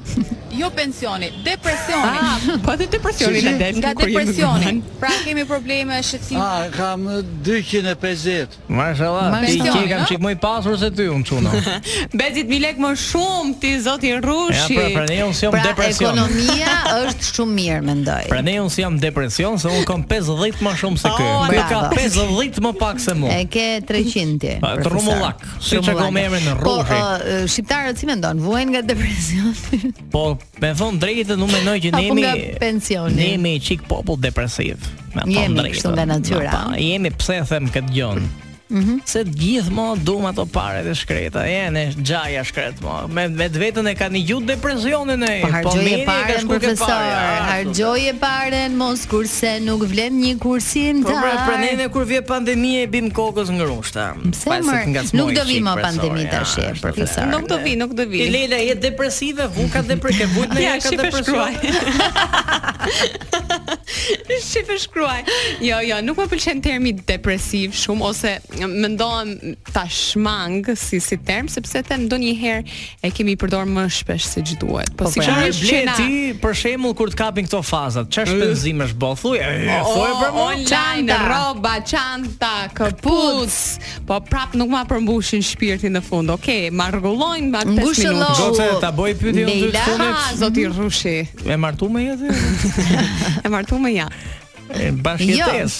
Speaker 8: Jo pensioni, depresioni.
Speaker 2: Ah, po edhe depresioni na del
Speaker 8: nga
Speaker 2: kur jemi
Speaker 8: depresioni.
Speaker 2: në bank.
Speaker 8: Pra kemi probleme shqetësim.
Speaker 9: A, kam 250.
Speaker 5: Mashallah, ti
Speaker 8: Pension,
Speaker 5: që i kam
Speaker 8: ha?
Speaker 5: çik më i pasur se ty unë
Speaker 3: (laughs)
Speaker 5: çuna.
Speaker 2: Bezit mi lek më shumë ti zoti
Speaker 5: Ja,
Speaker 2: Rushi.
Speaker 5: pra pra ne unë si jam
Speaker 3: Pra
Speaker 5: depresion.
Speaker 3: ekonomia është shumë mirë mendoj.
Speaker 5: Pra ne unë si jam depresion se unë kam 50 më shumë se ky.
Speaker 2: Oh,
Speaker 5: Ky ka
Speaker 3: bravo.
Speaker 5: 50 më pak se
Speaker 3: E
Speaker 5: mua.
Speaker 3: ke 300 ti.
Speaker 5: Pa,
Speaker 3: profesor.
Speaker 5: Trumullak, siç e
Speaker 3: Trumullak.
Speaker 5: kam emrin,
Speaker 3: Po,
Speaker 5: Rushi.
Speaker 3: ë, shqiptarët si mendon, vuajnë nga depresioni?
Speaker 5: Po, me thon drejtën, unë mendoj që ne
Speaker 3: Apo
Speaker 5: jemi
Speaker 3: nga pensioni.
Speaker 5: Ne jemi çik popull depresiv. Me thon
Speaker 3: Jemi
Speaker 5: drejtën.
Speaker 3: kështu nga natyra. Mhm.
Speaker 5: Na pa, jemi pse them këtë gjën. se gjithmonë dum ato paret e shkreta. Jene xhaja shkret mo. Me me të vetën e kanë gjut depresionin (laughs) e.
Speaker 3: Po hargjoje
Speaker 5: mini e ka
Speaker 3: paren
Speaker 5: shkuket
Speaker 3: profesor,
Speaker 5: pare, ashtu.
Speaker 3: hargjoje paren mos kurse nuk vlen një kursim
Speaker 5: Po pra, pra
Speaker 3: tar.
Speaker 5: nene kur vje pandemia e bim kokës ngrushta.
Speaker 3: Pse,
Speaker 5: Pa, se
Speaker 3: mor?
Speaker 5: të ngacmoj
Speaker 3: Nuk do vi
Speaker 5: shik,
Speaker 3: më
Speaker 5: profesor,
Speaker 3: pandemi
Speaker 5: ja,
Speaker 3: tash,
Speaker 5: ashtu
Speaker 3: profesor.
Speaker 5: thënë.
Speaker 2: Nuk do vi, nuk do vi.
Speaker 5: Ti Leila je depresive, vu ka depre, ke vujt në
Speaker 2: Ja,
Speaker 5: ka
Speaker 2: shqipe
Speaker 5: depresion.
Speaker 2: shkruaj. (laughs) shqipe shkruaj. Jo, jo, nuk më pëlqen termi depresiv shumë ose mendohem ta shmang si si term sepse them ndonjëherë e kemi përdor më shpesh se ç'duhet. Po,
Speaker 3: Po,
Speaker 2: si
Speaker 3: po,
Speaker 5: Çfarë
Speaker 2: sigurisht që
Speaker 5: ble
Speaker 2: na
Speaker 5: ti për shembull kur të kapin këto fazat? Çfarë shpenzimesh bë? Thuaj, e, thuaj për mua.
Speaker 2: online,
Speaker 3: Çanta.
Speaker 2: rroba, çanta, këpuc. Po prap nuk ma përmbushin shpirtin në fund. Okej, ma rregullojnë ma 5
Speaker 3: Ngushëllo.
Speaker 2: minutë.
Speaker 5: Goce, ta bëj pyetje unë dy të
Speaker 3: Leila. (laughs)
Speaker 5: fundit.
Speaker 2: Ah, zoti rrushi.
Speaker 5: E martu me jetë?
Speaker 2: E martuam ja.
Speaker 5: E bashkë
Speaker 3: Jo.
Speaker 5: jetes.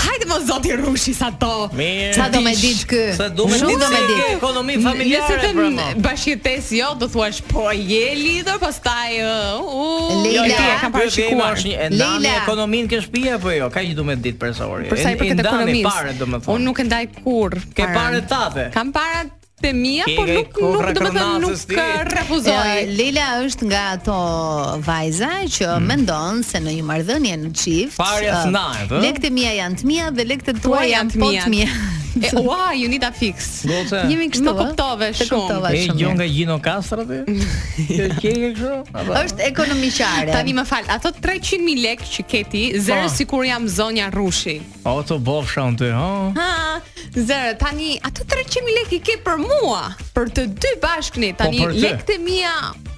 Speaker 2: Hajde mos zoti rrushi sa to.
Speaker 5: Mirë.
Speaker 3: Sa do me ditë ky?
Speaker 5: Sa do me
Speaker 3: Shumë
Speaker 5: ditë
Speaker 3: do me
Speaker 5: se ke
Speaker 3: ditë.
Speaker 5: Ekonomi
Speaker 2: N-
Speaker 5: familjare
Speaker 2: Nëse
Speaker 5: për mua.
Speaker 2: të bashkëtes jo, do thuash po je lider, pastaj ë, u
Speaker 3: Leila.
Speaker 2: jo, ti e kam
Speaker 5: Ky tema
Speaker 2: parashikuar.
Speaker 5: është një e ndani
Speaker 3: Leila.
Speaker 5: ekonominë ke shtëpi apo jo? Kaq do me ditë persori.
Speaker 2: Për sa i përket
Speaker 5: Pare,
Speaker 2: ekonomisë.
Speaker 5: domethënë.
Speaker 2: Unë nuk e ndaj kurr.
Speaker 5: Ke
Speaker 2: paran.
Speaker 5: pare tate.
Speaker 2: Kam para të mia,
Speaker 5: Ke
Speaker 2: po
Speaker 5: nga i
Speaker 2: nuk nuk
Speaker 5: kurra
Speaker 2: domethënë
Speaker 5: kronacës
Speaker 2: nuk
Speaker 5: ti.
Speaker 2: eh, refuzoj.
Speaker 3: Ë, Leila është nga ato vajza që mendon se në një marrëdhënie në çift,
Speaker 5: Mm. Parja
Speaker 3: ë,
Speaker 5: s'nahet, ë?
Speaker 3: Lekët e mia janë të mia dhe lekët e tua janë po të mia. (laughs)
Speaker 2: E ua, ju nita fix.
Speaker 5: Goce.
Speaker 3: Jemi kështu.
Speaker 2: Më
Speaker 3: ë?
Speaker 2: kuptove
Speaker 3: Të
Speaker 2: shumë.
Speaker 3: kuptova
Speaker 5: E
Speaker 3: shumë
Speaker 5: gjon
Speaker 3: mirë.
Speaker 5: nga Gino Kastra
Speaker 3: (laughs)
Speaker 5: ti? Ke ke kështu?
Speaker 3: Është ekonomiqare.
Speaker 2: Tani më fal, ato 300.000 lekë që ke ti, zero
Speaker 5: Po.
Speaker 2: sikur jam zonja Rushi.
Speaker 5: O të bofsha unë ty, ha?
Speaker 2: Ha, zero. Tani ato 300.000 lekë i ke për mua, për të dy bashkëni. Tani
Speaker 5: Po, për ty.
Speaker 2: lekët e mia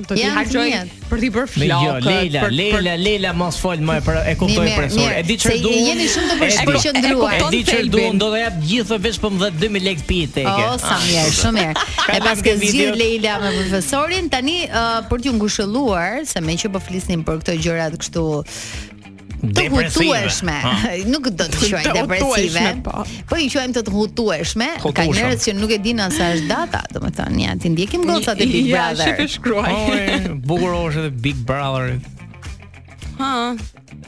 Speaker 2: do t'i
Speaker 3: Janë të
Speaker 2: harxoj
Speaker 3: mia.
Speaker 2: për t'i bërë
Speaker 5: Me jo,
Speaker 2: flokët.
Speaker 5: Leila,
Speaker 2: për- për-
Speaker 5: Leila, Leila mos fol më e për e kuptoj
Speaker 3: Mirë,
Speaker 5: profesor.
Speaker 3: mirë,
Speaker 5: E di
Speaker 3: se
Speaker 5: çfarë duam.
Speaker 3: jeni shumë të
Speaker 5: E di-
Speaker 3: përshpërqendruar.
Speaker 5: E di çfarë
Speaker 2: Kupton
Speaker 5: duam,
Speaker 2: thelbin.
Speaker 5: do të jap gjithë veç për 12000 lekë pi teke.
Speaker 3: O, sa mirë, shumë mirë.
Speaker 5: (laughs) Ka
Speaker 3: E
Speaker 5: lënë
Speaker 3: pas
Speaker 5: këtë
Speaker 3: ke
Speaker 5: video.
Speaker 3: zgjidh Leila me profesorin, tani ë, për t'ju ngushëlluar, se me që po flisnim për këto gjërat kështu të hutueshme. (laughs) Nuk do të
Speaker 5: (laughs)
Speaker 3: quajmë
Speaker 2: Të
Speaker 3: depresive.
Speaker 2: hutueshme, po.
Speaker 3: Po i quajmë të të hutueshme. Ka
Speaker 5: Hutueshëm.
Speaker 3: njerëz që nuk e dinë as sa është data, domethënë, ja, ti ndjekim gocat e Big
Speaker 2: Ja, shqipe
Speaker 3: Brother.
Speaker 2: shkruaj.
Speaker 5: Oj, bukur është edhe Big Brother.
Speaker 2: Ha.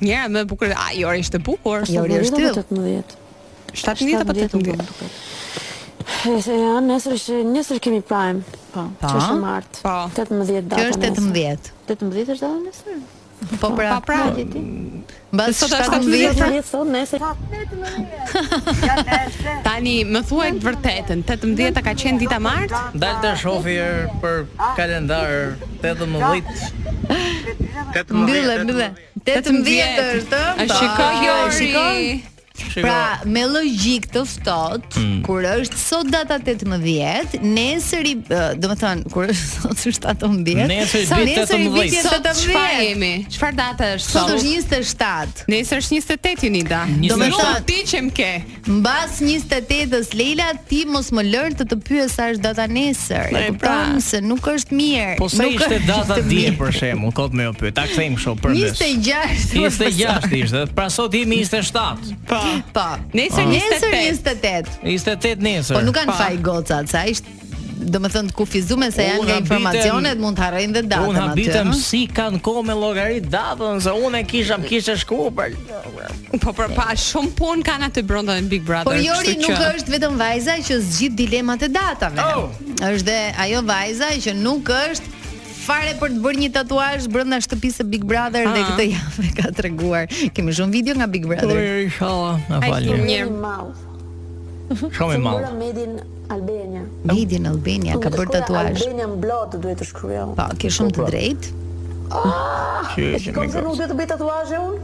Speaker 2: Njëra më e bukur. A, Jori ishte bukur.
Speaker 3: Jo, ri është yll.
Speaker 2: 17 apo 18.
Speaker 10: Se janë nesër është nesër kemi prime. Po.
Speaker 3: Po.
Speaker 10: Që është mart.
Speaker 2: Po.
Speaker 10: 18 data.
Speaker 3: Kjo është
Speaker 10: nesër.
Speaker 3: 18.
Speaker 10: 18 është data nesër.
Speaker 3: Po pra,
Speaker 2: Pa pra.
Speaker 3: mbas
Speaker 2: Sot është
Speaker 3: 17.
Speaker 10: 18 sot nesër.
Speaker 2: Tani më thuaj të vërtetën, 18 ka qenë dita mart?
Speaker 5: Dal të shofi erë për kalendar 18.
Speaker 3: Mbyllë, mbyllë. 18 është. ë?
Speaker 2: A
Speaker 3: Po,
Speaker 2: shikoj Jori.
Speaker 3: shikon?
Speaker 5: Shiko. Hmm.
Speaker 3: Pra, me logjik të ftohtë, kur është sot data 18, nesër i, ë, do të thënë, kur është (laughs) sot është 17,
Speaker 5: Nesër i
Speaker 3: sa
Speaker 5: bie
Speaker 3: nesër i
Speaker 5: 18.
Speaker 3: bie
Speaker 2: Sot çfarë
Speaker 3: 18.
Speaker 2: jemi? Çfarë data është
Speaker 3: Sot
Speaker 2: sot?
Speaker 3: është 27.
Speaker 2: Nesër është 28 Unida.
Speaker 5: Do me
Speaker 2: Nuk
Speaker 3: thënë-
Speaker 2: ti që më ke.
Speaker 3: Mbas 28-s Leila, ti mos më lër të të pyes sa është data nesër. E
Speaker 2: E,
Speaker 3: kupton
Speaker 2: pra.
Speaker 3: se nuk është mirë.
Speaker 5: Po se
Speaker 3: nuk
Speaker 5: ishte
Speaker 3: është
Speaker 5: data dje
Speaker 3: mirë.
Speaker 5: për shembull, kot me opy. Ta kthejmë kështu për mes.
Speaker 3: 26.
Speaker 5: 26 ishte, pra sot jemi 27.
Speaker 2: Po.
Speaker 3: Po.
Speaker 2: Nesër
Speaker 3: Nesër
Speaker 2: 28.
Speaker 3: 28.
Speaker 5: 28 nesër.
Speaker 3: Po nuk kanë
Speaker 2: Pa.
Speaker 3: faj gocat, sa ishte do më thënë të kufizume se janë
Speaker 5: Unë
Speaker 3: nga
Speaker 5: habitem-
Speaker 3: informacionet, mund të harrojnë dhe datën
Speaker 5: Unë habitem
Speaker 3: ëh?
Speaker 5: si kanë kohë me llogarit datën se unë e kisha më kishe shku për.
Speaker 2: Po për pa shumë punë kanë aty brenda në Big Brother.
Speaker 3: Por Po Jori
Speaker 2: kështu
Speaker 3: nuk
Speaker 2: që-
Speaker 3: është vetëm vajza që zgjidh dilemat e datave.
Speaker 5: Oh.
Speaker 3: Është dhe ajo vajza që nuk është fare për të bërë një tatuazh brenda shtëpisë së Big Brother dhe
Speaker 2: Ah.
Speaker 3: këtë javë ka treguar. Kemi shumë video nga Big Brother.
Speaker 5: inshallah, na
Speaker 2: Ai
Speaker 5: falni.
Speaker 2: shumë mirë.
Speaker 10: Mall.
Speaker 5: Shumë i madh.
Speaker 10: Mora Medin Albania.
Speaker 3: Made in Albania ka bërë
Speaker 10: Shkolla
Speaker 3: tatuazh.
Speaker 10: Albania mblot duhet të shkruaj.
Speaker 3: Po, ke shumë të drejtë.
Speaker 5: Që
Speaker 10: E
Speaker 5: që
Speaker 10: shikon
Speaker 5: me
Speaker 10: se nuk
Speaker 5: gocë.
Speaker 10: duhet të bëj tatuazhe unë?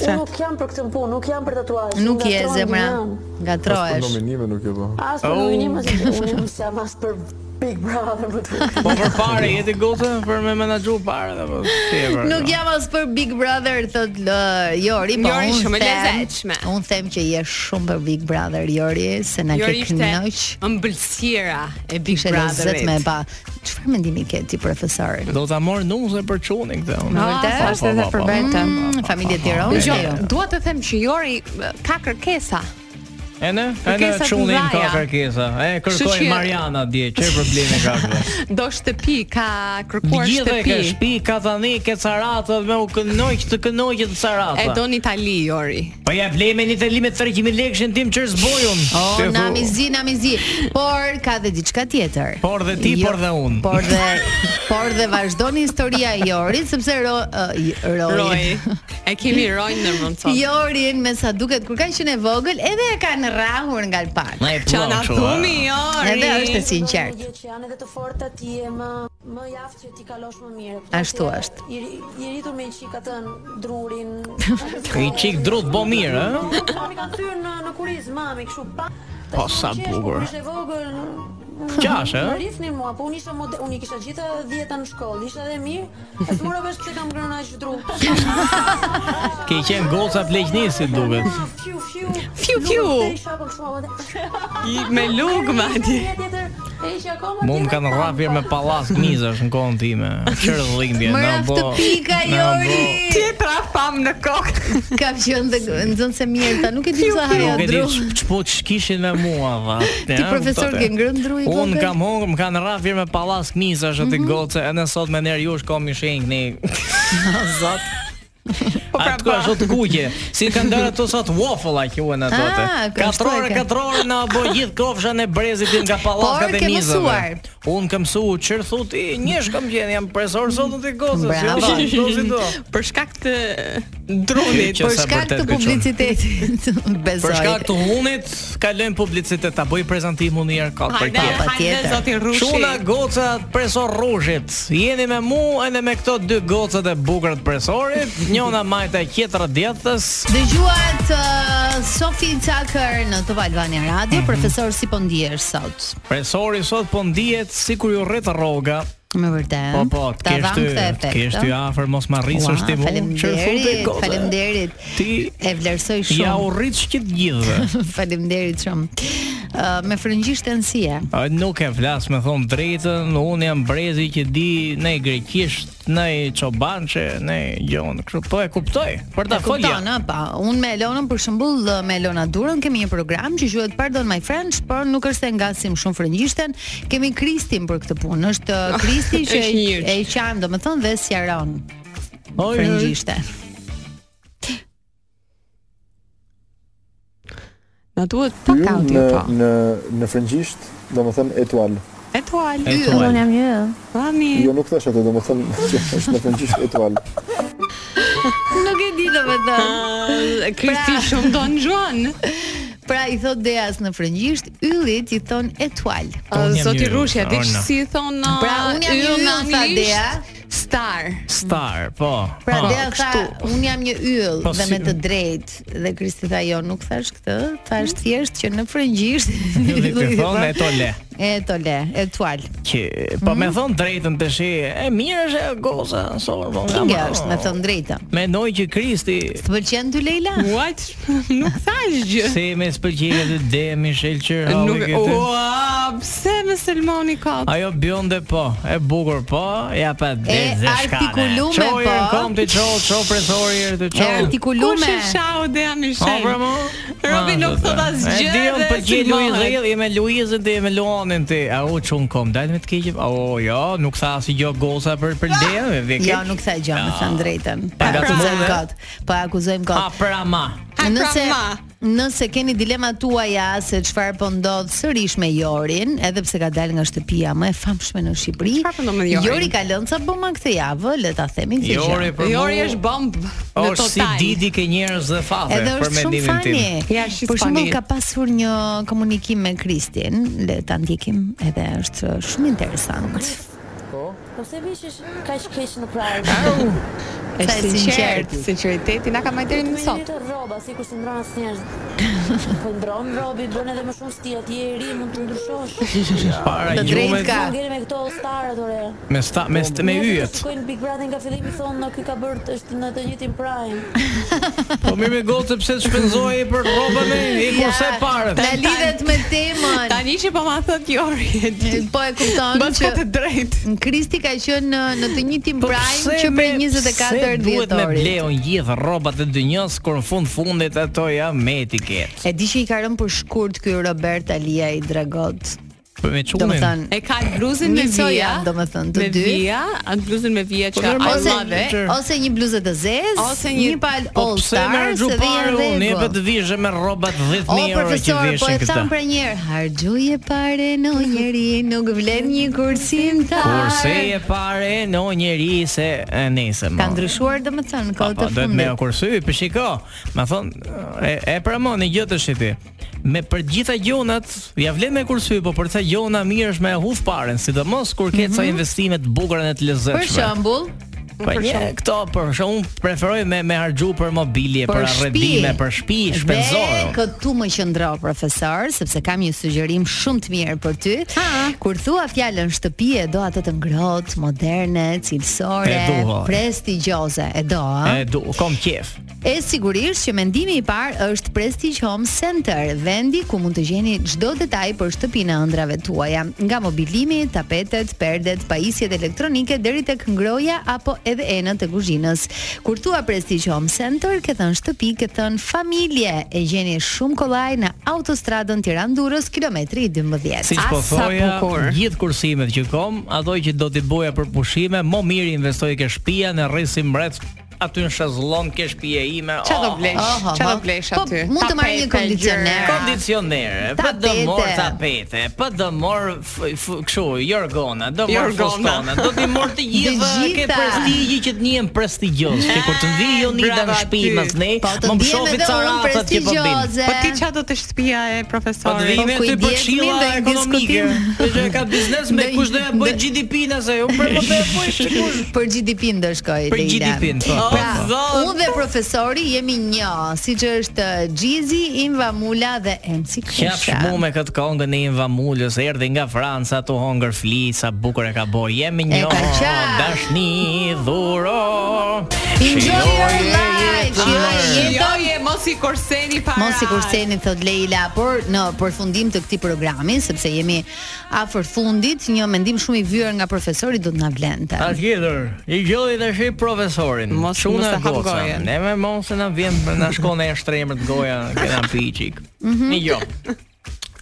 Speaker 10: Unë nuk jam për këtë punë, nuk jam për tatuazhe.
Speaker 3: Nuk
Speaker 10: unë
Speaker 3: je
Speaker 10: gatron
Speaker 3: zemra,
Speaker 10: gjinam.
Speaker 3: ngatrohesh.
Speaker 7: nuk e po
Speaker 10: As për nominimin, as për unë nuk jam as për Big Brother (laughs) më duket.
Speaker 5: Po për parë jeti gocë për me menaxhu parë po, apo si e bërë?
Speaker 3: Nuk jam as për Big Brother thot lë, Jori, po
Speaker 2: Jori,
Speaker 3: unë
Speaker 2: shumë e
Speaker 3: them-
Speaker 2: lezetshme.
Speaker 3: Unë them që je shumë për Big Brother Jori, se na
Speaker 2: Jori
Speaker 3: ke
Speaker 2: ishte
Speaker 3: kënaq.
Speaker 2: ëmbëlsira e Big
Speaker 3: Ishe lezet me e
Speaker 2: Brotherit.
Speaker 3: pa. Çfarë mendimi ke ti profesor?
Speaker 5: Do ta marr numse për çunin këtë. unë. Po,
Speaker 3: Në
Speaker 2: Ah,
Speaker 3: vërtet?
Speaker 2: sa është edhe për vete.
Speaker 3: Mm, familje Tiranë.
Speaker 2: Jo,
Speaker 3: apo jo?
Speaker 2: dua të them që Jori eh, ka kërkesa.
Speaker 5: E ne, e ne
Speaker 2: Kërkesat
Speaker 5: çunim ka
Speaker 2: mëdhaja.
Speaker 5: kërkesa.
Speaker 2: Kështu
Speaker 5: E kërkoj
Speaker 2: që-
Speaker 5: Mariana dje, çe problemi ka këtu.
Speaker 2: (laughs) Do shtëpi, ka kërkuar
Speaker 5: Gjithë e
Speaker 2: shtëpi.
Speaker 5: ka shtëpi, ka tani, ke caratët, me u kënoj që të kënoj që të carata.
Speaker 2: E do në Itali, Jori.
Speaker 5: Po ja blejme një të limet 300.000 lekësh në tim qërë zbojun.
Speaker 3: O,
Speaker 5: Te
Speaker 3: na
Speaker 5: thu-
Speaker 3: mizi, na mizi. Por ka dhe diçka tjetër. Jo,
Speaker 5: Por dhe ti, por dhe unë.
Speaker 3: Por dhe por dhe vazhdon historia e Jorit sepse ro, uh,
Speaker 2: Roj.
Speaker 3: Rorin.
Speaker 2: E kemi Rojnë në mëndësot.
Speaker 3: Jorin me sa duket kur ka qenë e vogël, edhe e kanë rrahur nga lpak.
Speaker 5: Ne e
Speaker 2: Që na
Speaker 5: plon kështu.
Speaker 2: thumi, Jori.
Speaker 3: Edhe është e sinqert.
Speaker 10: Që janë edhe të forta ti e më më jaft që ti kalosh më mirë.
Speaker 3: Ashtu është.
Speaker 10: I, i rritur me qik atë
Speaker 5: (laughs)
Speaker 10: drurin.
Speaker 5: I qik drut bo mirë, ë?
Speaker 10: Mami ka thyrë në në kuriz mami kështu pa.
Speaker 5: Po, sa
Speaker 10: Qesh,
Speaker 5: bukur.
Speaker 10: kur Ishte e vogël.
Speaker 5: Qash, ë?
Speaker 10: Më rifnin mua, po unë isha mode, unë i kisha gjithë dhjetën në shkollë, isha edhe mirë. E s'mora vesh pse kam ngrënë aq dru.
Speaker 5: Ke qenë goca pleqnisi duket.
Speaker 10: Fiu fiu.
Speaker 2: Fiu, fiu.
Speaker 10: Nuk e isha po kështu. ama-
Speaker 2: I- Me lugë, ma
Speaker 3: (laughs)
Speaker 2: di.
Speaker 10: Një tjetër, e isha akoma.
Speaker 5: Mu më
Speaker 10: tjetër,
Speaker 5: kanë
Speaker 10: pa,
Speaker 5: rrafir me
Speaker 10: pa.
Speaker 5: pallask mizash në kohën time. Çfarë dhimbje,
Speaker 3: Më
Speaker 5: na
Speaker 3: rraf
Speaker 5: bo.
Speaker 3: të pika
Speaker 5: na
Speaker 3: Jori.
Speaker 5: bo-
Speaker 2: Ti e pra fam në kokë.
Speaker 3: Ka qenë dhe nxënë se mirë ta, nuk e di
Speaker 2: Piu,
Speaker 3: sa
Speaker 2: piu.
Speaker 3: haja
Speaker 5: Nuk e di
Speaker 3: Ah, dru.
Speaker 5: ç- ç'po ç'kishin me mua dha.
Speaker 3: (laughs) Ti profesor ke ngrënë dru i Mhm.
Speaker 5: Un
Speaker 3: vogël?
Speaker 5: kam hongër, më kanë rrafir me pallask mizash aty goce, edhe sot me ner jush kom i
Speaker 3: (laughs)
Speaker 5: shenjni.
Speaker 3: Ah,
Speaker 5: (laughs) Zot. Po pra
Speaker 2: pra.
Speaker 5: ashtu të kuqe, si kanë dalë ato sot waffle a quhen ato. te.
Speaker 3: Ah, kështu e
Speaker 5: Katrore,
Speaker 3: ke.
Speaker 5: katrore na bo gjithë kofshan e brezit nga
Speaker 3: Por
Speaker 5: pallakat e
Speaker 3: ke mësuar.
Speaker 5: mizave. Un kam mësuar çer thut i njesh kam gjenë, jam profesor sot në gocës.
Speaker 3: Bravo.
Speaker 5: jo, si
Speaker 3: (laughs)
Speaker 5: do.
Speaker 2: Për shkak të drunit.
Speaker 5: Që
Speaker 3: Për
Speaker 5: sa
Speaker 3: shkak
Speaker 5: vërtet
Speaker 3: të
Speaker 5: ka qenë.
Speaker 3: publicitetit, (laughs)
Speaker 5: Për shkak
Speaker 3: besoj.
Speaker 5: të hunit, kalojmë publicitet, ta bëj prezantimin një herë kot për
Speaker 2: Hajde,
Speaker 5: tjetër.
Speaker 2: hajde,
Speaker 3: patjetër.
Speaker 2: zoti Rushi.
Speaker 5: Shuna goca presor rushit. Jeni me mua edhe me këto dy gocat e bukura të presorit, njëna majta e tjetra djathtës.
Speaker 3: Dëgjuat uh, Sofi Tucker në Top Albania Radio,
Speaker 5: Mhm.
Speaker 3: profesor si po ndihesh sot?
Speaker 5: Presori sot po ndihet sikur ju rrit rroga.
Speaker 3: Me vërtet.
Speaker 5: Po po, të
Speaker 3: Ta
Speaker 5: kesh
Speaker 3: dham
Speaker 5: ty,
Speaker 3: këtë
Speaker 5: të
Speaker 3: efekt,
Speaker 5: kesh ty
Speaker 3: ëh?
Speaker 5: afër mos ma rrisësh
Speaker 3: Ua,
Speaker 5: ti mua.
Speaker 3: Faleminderit,
Speaker 5: goca.
Speaker 3: faleminderit.
Speaker 5: Ti
Speaker 3: E vlerësoj shumë.
Speaker 5: ja u rrit shqit gjithëve.
Speaker 3: (laughs) Faleminderit shumë. Ë, me frëngjishtën si e?
Speaker 5: A, Nuk e flas me thon drejtën, unë jam brezi që di ne greqisht, ne çobançe, ne gjon, kështu po e kuptoj. Për ta
Speaker 3: E
Speaker 5: folja.
Speaker 3: kupton, ë, po. Unë me Elonën për shembull, ë, me Elona Durën kemi një program që quhet Pardon My French, por nuk është se ngasim shumë frëngjishten. Kemi Kristin për këtë punë. Është ë,
Speaker 5: (laughs)
Speaker 3: Kristi që
Speaker 2: Është
Speaker 3: e,
Speaker 2: njërç.
Speaker 3: e qajm, domethënë dhe sjaron
Speaker 5: Oj,
Speaker 3: frëngjishten.
Speaker 2: Na duhet pa kaudi po.
Speaker 7: në në frëngjisht, domethënë etual.
Speaker 2: Etual.
Speaker 5: e thuaj.
Speaker 10: Unë jam një.
Speaker 2: Mami.
Speaker 7: Jo nuk thash atë, domethënë që është në frëngjisht etual.
Speaker 3: Nuk e di domethënë.
Speaker 2: Ë, Kristi shumë do në gjuan.
Speaker 5: Po,
Speaker 3: Pra i thot Deas në frëngjisht, yllit i thon etual.
Speaker 5: Unë jam
Speaker 2: Zoti
Speaker 5: një
Speaker 2: Rushi, a di
Speaker 5: Orna.
Speaker 2: si i thon? ë,
Speaker 3: Pra unë jam
Speaker 2: Ah, yll
Speaker 3: një
Speaker 2: në
Speaker 3: yll, tha
Speaker 2: anglisht?
Speaker 3: Dea.
Speaker 2: Star.
Speaker 5: Star, po.
Speaker 3: Pra
Speaker 5: po.
Speaker 3: Dea tha, unë jam një yll
Speaker 5: Po,
Speaker 3: dhe
Speaker 5: si-
Speaker 3: me të drejtë dhe Kristi tha jo, nuk thash këtë,
Speaker 2: Mm.
Speaker 3: thash thjesht që në
Speaker 5: (laughs)
Speaker 3: frëngjisht (laughs)
Speaker 5: Yllit i thon
Speaker 3: thon,
Speaker 5: etole.
Speaker 3: Etole, etual.
Speaker 5: Që, po me thon drejtën të shi, e mirë është e goza, sor, po nga
Speaker 3: Kinga
Speaker 5: ma-
Speaker 3: është me thënë drejtën.
Speaker 5: Mendoj që Kristi
Speaker 3: Të pëlqen ty Leila?
Speaker 2: What? (laughs) Nuk thash (laughs) gjë.
Speaker 5: se me spëlqejë të de Michel Çerhavi
Speaker 2: Nuk.
Speaker 5: këtë.
Speaker 2: Ua, pse me Selmani ka?
Speaker 5: Ajo bjonde po, e bukur po, ja pa dhe zeshkane.
Speaker 3: artikulume po.
Speaker 5: në kom të qo, qo presori erë të
Speaker 3: E
Speaker 5: qo.
Speaker 2: Kush
Speaker 3: artikulume.
Speaker 2: e shau Dea
Speaker 5: Po,
Speaker 2: Michel?
Speaker 5: pra mo.
Speaker 2: Robi nuk thot asgjë
Speaker 5: E di unë
Speaker 2: dhe
Speaker 5: pëlqej
Speaker 2: sulmohet.
Speaker 5: Luizën, je me Luizën ti, je me Luanin ti. A u çun kom, dal me të keqim. O, jo, nuk tha asgjë goza për për Dea, dhe keq.
Speaker 3: Jo, nuk tha gjë, me thënë drejtën. Po
Speaker 5: Pa
Speaker 3: akuzojmë
Speaker 5: gatumë.
Speaker 3: kot. Po akuzojmë kot.
Speaker 5: A pra ma.
Speaker 2: Ha, pra
Speaker 3: Nëse
Speaker 2: ma.
Speaker 3: nëse keni dilemat tuaja se çfarë po ndodh sërish me Jorin, edhe pse ka dalë nga shtëpia më e famshme në Shqipëri.
Speaker 2: Çfarë po ndodh me Jorin?
Speaker 3: Jori ka lënë sa bëma këtë javë, le ta themi këtë
Speaker 5: Jori
Speaker 3: gjë.
Speaker 5: për
Speaker 2: Jori
Speaker 5: mu-
Speaker 2: është bomb në
Speaker 5: është si
Speaker 2: total.
Speaker 5: Didi ke njerëz dhe fate
Speaker 3: Edhe
Speaker 5: për
Speaker 3: është shumë
Speaker 5: mendimin
Speaker 3: fani.
Speaker 5: tim.
Speaker 2: Ja, she's
Speaker 3: Për shembull
Speaker 2: funny.
Speaker 3: ka pasur një komunikim me Kristin, le ta ndjekim, edhe është shumë interesant.
Speaker 10: Po pse vishesh kaq keq në prajë?
Speaker 3: Sa
Speaker 2: Është
Speaker 3: e
Speaker 2: sinqert, sinqeriteti na ka marrë deri më
Speaker 10: Në
Speaker 2: sot.
Speaker 10: jetë rroba, sikur si ndron asnjëherë.
Speaker 5: (laughs)
Speaker 10: Po ndron robi, bën edhe më shumë stil, ti je i ri, mund të ndryshosh.
Speaker 5: Para
Speaker 3: Të drejtë
Speaker 5: gjumet
Speaker 3: ka. Po,
Speaker 10: Ngeli me këto starat ore.
Speaker 5: me sta me st- me
Speaker 10: Njerëzit
Speaker 5: yjet.
Speaker 10: Shikojnë Big Brother nga fillimi thonë, "No, ky ka bërë të- është në të njëjtin prime."
Speaker 5: Po mirë me gocë pse të shpenzoi për rrobën e i kurse parë.
Speaker 3: Ta lidhet me temën.
Speaker 2: Tani që po ma thot Jori. e di.
Speaker 3: Po e kupton
Speaker 2: Bëhet
Speaker 3: që
Speaker 2: ka të drejtë.
Speaker 3: Kristi ka ka qenë në, në të njëjtin prajm
Speaker 5: Po pse
Speaker 3: që prej
Speaker 5: me-
Speaker 3: 24
Speaker 5: pse duhet me
Speaker 3: dhjetorit.
Speaker 5: bleun gjithë rrobat e dynjës kur në fund fundit ato ja me etiketë.
Speaker 3: E di që i ka rënë për shkurt ky Robert Alia i Dragot.
Speaker 5: Po me çunin.
Speaker 3: Domethënë,
Speaker 2: E ka bluzën me
Speaker 3: Njësoj
Speaker 2: vija,
Speaker 3: janë, domethënë, të
Speaker 2: me
Speaker 3: dy.
Speaker 2: vija, atë bluzën me vija
Speaker 5: Po
Speaker 2: që ai
Speaker 3: ose
Speaker 2: madhe.
Speaker 3: ose një bluzë të zezë,
Speaker 2: Ose një-
Speaker 3: pal
Speaker 5: Po
Speaker 3: All
Speaker 5: pse më
Speaker 3: Star, se
Speaker 5: rxhu
Speaker 3: dhe një
Speaker 5: parë unë e
Speaker 3: rregull.
Speaker 5: vetë vishë me rrobat 10000
Speaker 3: O
Speaker 5: euro që
Speaker 3: po. profesor, po e
Speaker 5: vishin
Speaker 3: tham
Speaker 5: këta.
Speaker 3: pra një herë, harxhoje pare në njeri, nuk vlen një kursimtar.
Speaker 5: Kurse e pare në njeri se e nesër.
Speaker 3: Ka ndryshuar domethënë
Speaker 5: Po,
Speaker 3: kohë
Speaker 5: po,
Speaker 3: të
Speaker 5: duhet me
Speaker 3: fundit.
Speaker 5: o kursy, për shiko. Ma thon, e, e pramoni gjë të shiti. Me për gjitha gjonat, ja vlen me kursy, po për ca gjona mirë është me e huf parën, sidomos kur ke ca investime të bukura dhe të
Speaker 3: Mhm. Për
Speaker 5: lezetshme.
Speaker 3: shembull,
Speaker 5: Po një këto për shkak unë preferoj me me harxhu për mobilje,
Speaker 3: Për
Speaker 5: për
Speaker 3: shtëpi.
Speaker 5: arredime, për shtëpi,
Speaker 3: Dhe
Speaker 5: shpenzor.
Speaker 3: këtu më qëndro profesor, sepse kam një sugjerim shumë të mirë për ty.
Speaker 2: Ha.
Speaker 3: Kur thua fjalën shtëpi e do atë të ngrohtë, moderne, cilësore,
Speaker 5: E dua.
Speaker 3: prestigjioze, e do, a?
Speaker 5: E du, kom qef.
Speaker 3: E sigurisht që mendimi i parë është Prestige Home Center, vendi ku mund të gjeni çdo detaj për shtëpinë e ëndrave tuaja, nga mobilimi, tapetet, perdet, pajisjet elektronike deri tek ngroja apo edhe enët e kuzhinës. Kur thua Prestige Home Center, ke thënë shtëpi, ke thënë familje. E gjeni shumë kollaj në autostradën Tiranë-Durrës, kilometri 12.
Speaker 5: Siç po thoja, gjithë kursimet që kom, ato që do t'i boja për pushime, më mirë investoj ke shtëpia në rrisi mbret, aty në shezllon ke shtëpia ime.
Speaker 2: Çfarë do
Speaker 5: oh,
Speaker 2: blesh?
Speaker 3: Oho,
Speaker 2: Çfarë do
Speaker 3: ho.
Speaker 2: blesh
Speaker 3: Po,
Speaker 2: aty?
Speaker 3: mund të marrë një
Speaker 2: Tapete,
Speaker 3: kondicioner.
Speaker 2: gjëra.
Speaker 5: Kondicionere, pa
Speaker 3: Eh. Tapete.
Speaker 5: dëmor tapete, pa dëmor f- f- kështu, jorgona, dëmor
Speaker 2: Jorgona.
Speaker 5: fustona, do t'i mor
Speaker 3: (laughs)
Speaker 5: të gjitha,
Speaker 3: Të
Speaker 5: ke
Speaker 3: gjitha. Eh,
Speaker 5: prestigji që të njihen prestigjioz, që kur të vi jo nida në
Speaker 2: brava
Speaker 5: shtëpi
Speaker 2: ty.
Speaker 5: mas ne,
Speaker 3: Po të
Speaker 5: më
Speaker 3: ndihem
Speaker 5: shofi
Speaker 3: edhe unë
Speaker 5: caratat që po bin.
Speaker 3: prestigjioze.
Speaker 2: Po ti çfarë do të shtëpia e
Speaker 5: Po të
Speaker 2: profesorit?
Speaker 5: vijmë
Speaker 3: Po,
Speaker 5: aty për
Speaker 3: kujdes,
Speaker 5: këshilla
Speaker 3: mirë, do e
Speaker 5: ekonomike.
Speaker 3: diskutim.
Speaker 5: Dhe që ka biznes
Speaker 3: (laughs)
Speaker 5: me
Speaker 3: Do i-
Speaker 5: kush do ja bëj
Speaker 3: do-
Speaker 5: GDP-n asaj, unë për po të
Speaker 3: (laughs)
Speaker 5: bëj sikush.
Speaker 3: Për GDP-n do shkoj
Speaker 5: Për
Speaker 3: Leila.
Speaker 5: GDP-n, po, po,
Speaker 3: Pra,
Speaker 5: po.
Speaker 3: unë dhe profesori jemi një, siç është Gjizi, Imva Mula dhe MC Kusha.
Speaker 5: Qafsh mu me këtë kongën e Inva Mulës, erdhi nga Franca tu hongër fli, sa bukur e ka bërë. Jemi
Speaker 3: E
Speaker 5: një
Speaker 3: ka qaf.
Speaker 5: dashni dhuro.
Speaker 3: Enjoy your
Speaker 5: Shijoj
Speaker 3: life,
Speaker 5: jetën.
Speaker 3: shijoj jetën.
Speaker 2: Joje mos i korseni para.
Speaker 3: Mos i kurseni thot Leila, por në përfundim të këtij programi, sepse jemi afër fundit, një mendim shumë i vyer nga profesori do të na vlente.
Speaker 5: Ta tjetër, i gjoj dhe shi profesorin
Speaker 2: Mos- mos
Speaker 5: Quna
Speaker 2: e hap
Speaker 5: goca.
Speaker 2: gojen.
Speaker 5: Ne me mos se na vjen, na shkon e shtremër të goja Kena pi i qik
Speaker 3: Mhm.
Speaker 5: I gjoj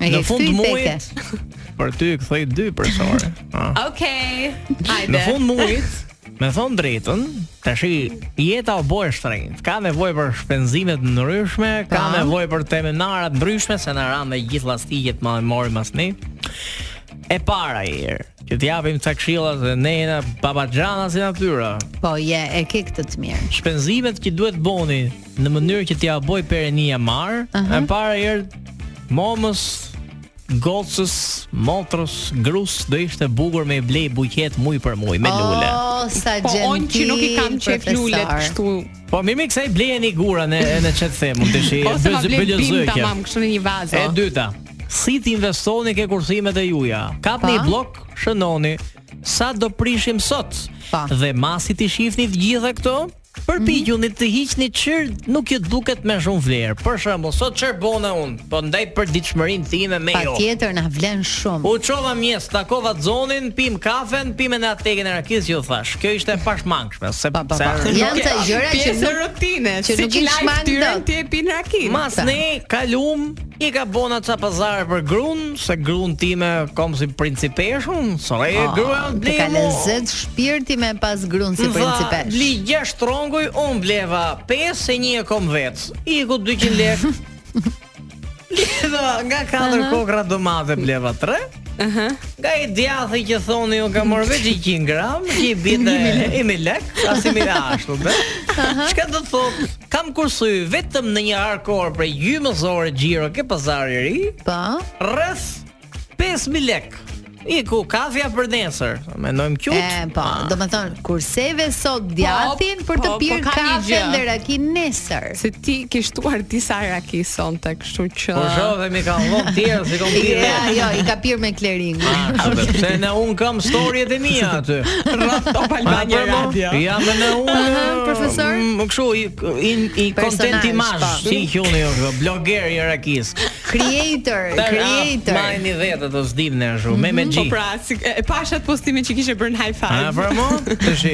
Speaker 3: E
Speaker 5: Në
Speaker 3: ke
Speaker 5: fund
Speaker 3: kthy i
Speaker 5: muajit
Speaker 3: teke.
Speaker 5: Për ty kthej dy
Speaker 3: (laughs)
Speaker 5: profesorë. Ah.
Speaker 2: Okej. Hajde.
Speaker 5: Në fund muajit, me thon drejtën, tash jeta u bë e shtrenjtë. Ka nevojë për shpenzime të ndryshme, ka
Speaker 3: Pa.
Speaker 5: nevojë për seminara të ndryshme, se na ran me gjithë llastiqet më mori mas ne. E para herë, që të japim ca këshilla se ne jena babaxhana si natyra.
Speaker 3: Po je, e ke këtë të mirë.
Speaker 5: Shpenzimet që duhet bëni në mënyrë që t'ja bëj perenia marr,
Speaker 3: Aha.
Speaker 5: e para herë momës gocës, motrës, grus do ishte bukur me i blej buqet muj për muj me lule.
Speaker 3: Oh, sa
Speaker 2: (laughs) Po
Speaker 3: gentil.
Speaker 2: on që nuk i kam qef
Speaker 3: profesor.
Speaker 2: lulet kështu.
Speaker 5: Po mirë mirë kësaj blejeni gurën e e në çet them, mund të shi
Speaker 3: Po,
Speaker 2: Ose ma blen bim
Speaker 5: bëllëzëkje.
Speaker 2: tamam kështu në një
Speaker 5: E
Speaker 2: vazë.
Speaker 5: dyta, si të investoni ke kursimet e juaja? Kapni
Speaker 3: Pa.
Speaker 5: blok, shënoni sa do prishim sot.
Speaker 3: Pa. Mhm.
Speaker 5: Dhe masi ti shihni të gjitha këto, përpiquni të hiqni çir nuk ju duket me shumë vlerë. Për shembull, sot çfarë bona un? Po ndaj për ditëshmërinë time me ju.
Speaker 3: Patjetër na vlen shumë.
Speaker 5: U çova mjes, takova zonin, pim kafen, pim edhe atë tekën e rakisë që ju thash. Kjo ishte e pashmangshme, se
Speaker 3: Pa, pa, pa.
Speaker 5: se-
Speaker 3: Janë ca gjëra që
Speaker 2: Pjesë e
Speaker 3: nuk
Speaker 2: rutinës,
Speaker 3: që
Speaker 2: si
Speaker 3: nuk
Speaker 2: që
Speaker 3: i
Speaker 2: lajmë
Speaker 3: shmang
Speaker 2: ftyrën,
Speaker 3: dot.
Speaker 2: ti e pin rakin.
Speaker 5: Mas ne kalum i ka bona ca pazare për grun, se grun time kom si principeshun, sore e
Speaker 3: Ah,
Speaker 5: grua
Speaker 3: Të ka
Speaker 5: blimu.
Speaker 3: lezet shpirti me pas grunë si
Speaker 5: Më tha,
Speaker 3: principesh.
Speaker 5: Bli 6 tronguj, unë bleva 5 se një e kom vetë. Iku 200
Speaker 3: (laughs)
Speaker 5: lek. Bleva nga 4 kokra domate bleva 3. Nga i djathi që thoni ju ka morë veç i 100 gram, që i bita i mi lek, as i mi
Speaker 3: (laughs)
Speaker 5: ashtu, be. Çka do të thotë? Kam kursy vetëm në një arkor prej gjymës ore xhiro ke pazari i ri,
Speaker 3: Po.
Speaker 5: rreth 5000 lek. Iku kafja për nesër. Mendojmë Ah, qut.
Speaker 3: E, po, do me thonë, kurseve sot djathin për të
Speaker 2: po, po,
Speaker 3: pirë
Speaker 2: ka një
Speaker 3: kafen
Speaker 2: gjë.
Speaker 3: dhe rakin nesër.
Speaker 2: se ti ke shtuar disa raki sonte, kështu që
Speaker 5: Po shove mi kanë dhënë tjerë se kam pirë.
Speaker 3: Ah. Ja, jo, i ka pirë me klering.
Speaker 2: (laughs)
Speaker 5: Ah, Sepse në un kam storjet e mia aty.
Speaker 2: Top Albania Radio.
Speaker 5: Jam në un.
Speaker 3: Aha, profesor?
Speaker 5: Më kështu i i, i content
Speaker 3: Personazh,
Speaker 5: imazh,
Speaker 3: po.
Speaker 5: si i quni jo, kjo, blogeri i Rakis.
Speaker 3: Creator,
Speaker 5: Ta-
Speaker 3: (laughs) creator. Mhm,
Speaker 5: ah, Majni vetë ato s'dim ne ashtu. Me me
Speaker 2: Po
Speaker 5: gji.
Speaker 2: pra, si, e pasha atë postimin që kishe bërë në high five.
Speaker 5: A pra mo? Të
Speaker 3: (laughs)
Speaker 5: shi.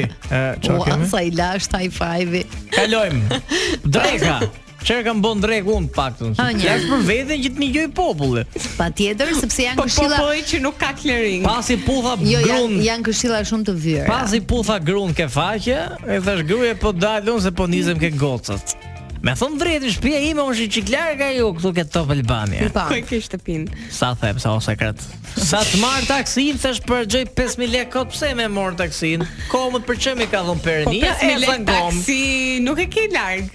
Speaker 5: Ço
Speaker 3: Ua,
Speaker 5: kemi?
Speaker 3: sa i lash high five. (laughs)
Speaker 5: Kalojmë. Dreka. Çfarë kam bën drek un paktën?
Speaker 3: Ha, një.
Speaker 5: Flas për veten që të ngjoj
Speaker 3: (laughs)
Speaker 5: populli.
Speaker 3: Patjetër sepse janë
Speaker 2: Po po
Speaker 3: këshilla
Speaker 2: po që nuk ka clearing.
Speaker 5: Pasi putha
Speaker 3: Jo, janë,
Speaker 5: grun.
Speaker 3: janë këshilla shumë të vyra.
Speaker 5: Pasi putha grun ke faqe, e thash gruaje po dalun se po nizem ke gocat. Me thon drejtë, shtëpia ime është çik larg ajo këtu ke Top Albania.
Speaker 3: Po.
Speaker 2: Ku e ke shtëpin?
Speaker 5: Sa them sa o sekret. Sa të marr taksin thash për xhoj 5000 lekë kot pse më mor taksin? Komët për çem i ka dhënë
Speaker 2: Po
Speaker 5: Perenia
Speaker 2: pes
Speaker 5: e
Speaker 2: me lek
Speaker 5: zan kom.
Speaker 2: taksi, nuk e ke larg.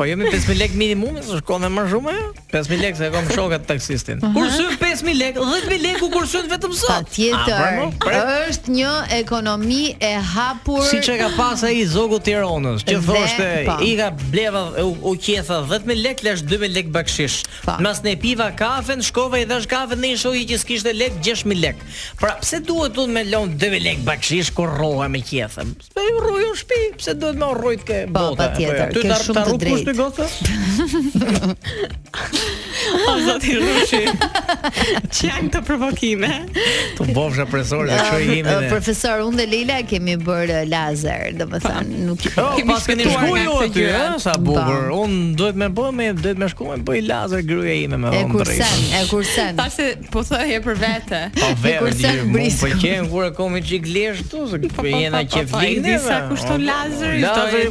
Speaker 5: Po jemi 5000 lekë minimum, s'është shkon më shumë ajo? 5000 lekë se e kom shokat taksistin.
Speaker 2: Mhm.
Speaker 5: Kur syn 5000 lekë, 10000 lekë u kursyn vetëm sot. A,
Speaker 3: Patjetër.
Speaker 5: bërë, mo? Pret.
Speaker 3: Është një ekonomi e hapur.
Speaker 5: Si që ka pas ai zogu i Tiranës, që
Speaker 3: Dhe,
Speaker 5: thoshte
Speaker 3: po.
Speaker 5: i ka bleva u, u qetha 10000 lek lash 2000 lek bakshish.
Speaker 3: Po.
Speaker 5: Mas ne piva kafen, shkova i dhash kafen në një shoqi që s'kishte lek 6000 lek. Pra pse duhet unë me lon 2000 lek bakshish kur rroha me qethën? Pse ju rroj unë shtëpi? Pse duhet me rrojt ke
Speaker 3: Po,
Speaker 5: bota?
Speaker 3: patjetër,
Speaker 5: Ty
Speaker 3: ke
Speaker 5: ta-
Speaker 3: shumë
Speaker 5: ta
Speaker 3: të
Speaker 5: rrug kush
Speaker 3: drejtë. (laughs)
Speaker 5: goca?
Speaker 2: O zoti Rushi. Që janë këto provokime?
Speaker 5: Tu bofsha presor dhe çoj jemi
Speaker 3: Ë,
Speaker 5: ne.
Speaker 3: (laughs) Profesor, unë dhe Leila kemi bërë lazer, domethënë nuk
Speaker 5: Oh,
Speaker 2: Kemi
Speaker 5: pas keni
Speaker 2: shkëtuar
Speaker 5: shku
Speaker 2: nga
Speaker 5: ju
Speaker 2: këto
Speaker 5: aty,
Speaker 2: gjëra.
Speaker 5: ë, sa bukur. Un duhet me bë, me duhet me shku me bëj lazer gruaja ime me
Speaker 3: e
Speaker 5: dhënë
Speaker 3: kursen,
Speaker 5: drejtë.
Speaker 3: e kursen.
Speaker 2: Tash se po thoje për vete.
Speaker 5: Po vetë
Speaker 3: kursen
Speaker 5: di, më
Speaker 3: brisku.
Speaker 5: pëlqen kur e komi çik lesh tu,
Speaker 2: (laughs)
Speaker 5: se
Speaker 2: Po, po,
Speaker 5: jena
Speaker 2: po, po,
Speaker 5: qef
Speaker 2: po, e
Speaker 5: lindje.
Speaker 2: di sa kushton lazer,
Speaker 5: Lazer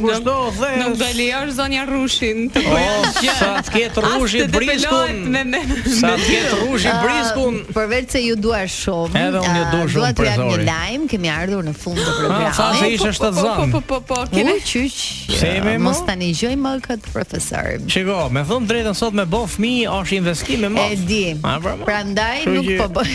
Speaker 2: do-
Speaker 5: kushton the.
Speaker 2: Nuk do lejosh zonja Rushin të (laughs)
Speaker 5: O,
Speaker 2: bëjë.
Speaker 5: sa të ketë rushi
Speaker 2: As të
Speaker 5: briskun.
Speaker 2: depelohet me- me-
Speaker 5: Sa të ketë rushi
Speaker 3: Ë,
Speaker 5: briskun.
Speaker 3: Ah, Përveç se ju dua shumë.
Speaker 5: Edhe unë ju dua
Speaker 3: ë,
Speaker 5: shumë, Ah,
Speaker 3: Dua t'ju jap një
Speaker 5: profesori.
Speaker 3: lajm, kemi ardhur në fund të
Speaker 5: Ha, sa se
Speaker 3: programit.
Speaker 5: ishe
Speaker 2: Po
Speaker 5: shtatzan.
Speaker 2: po po po,
Speaker 3: Kemi
Speaker 2: kene
Speaker 3: qyq.
Speaker 5: Pse
Speaker 3: ë,
Speaker 5: jemi, mo?
Speaker 3: Mos tani gjoj më këtë profesor.
Speaker 5: Shiko, me thënë drejtën sot me bë fëmijë është investim e madh.
Speaker 3: E di.
Speaker 5: A, pra, mo?
Speaker 3: Prandaj
Speaker 5: Kështu
Speaker 3: nuk
Speaker 5: që-
Speaker 3: po bëj.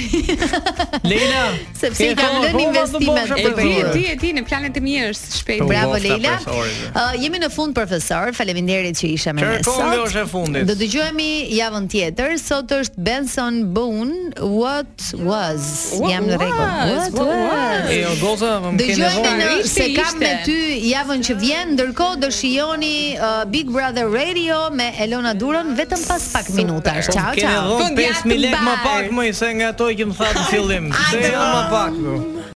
Speaker 5: Leila,
Speaker 2: (laughs)
Speaker 3: Sepse
Speaker 5: ke
Speaker 3: i kam
Speaker 5: kohë
Speaker 3: lënë
Speaker 5: akoma të
Speaker 3: investimet
Speaker 5: bofsha
Speaker 3: të
Speaker 2: E di,
Speaker 5: profesore?
Speaker 2: e di, e di, në planet e mia është shpejt.
Speaker 5: Po,
Speaker 3: Bravo
Speaker 5: Bofta
Speaker 3: Leila.
Speaker 5: profesorit.
Speaker 3: Uh, jemi në fund profesor. Faleminderit që isha me ne
Speaker 5: Çfarë kohë
Speaker 3: sot.
Speaker 5: është e fundit?
Speaker 3: Do dëgjohemi javën tjetër. Sot është Benson Boone, What Was.
Speaker 2: What
Speaker 3: Jam në rregull.
Speaker 2: was,
Speaker 3: Po,
Speaker 2: what was?
Speaker 5: E o goza, më ke
Speaker 3: Dëgjojmë
Speaker 5: nevojë.
Speaker 3: në
Speaker 2: Ishte,
Speaker 3: se kam
Speaker 2: ishte.
Speaker 3: me ty javën që vjen, ndërkohë do shijoni uh, Big Brother Radio me Elona Duron vetëm pas pak minutash. Ciao,
Speaker 5: Kene
Speaker 3: ciao.
Speaker 5: dhënë
Speaker 2: Fund
Speaker 5: 5000
Speaker 2: jatë
Speaker 5: lekë më
Speaker 2: mbar.
Speaker 3: (laughs)
Speaker 5: pak më se nga ato që më tha në fillim. Se
Speaker 3: Hajde,
Speaker 5: janë më pak. po. më.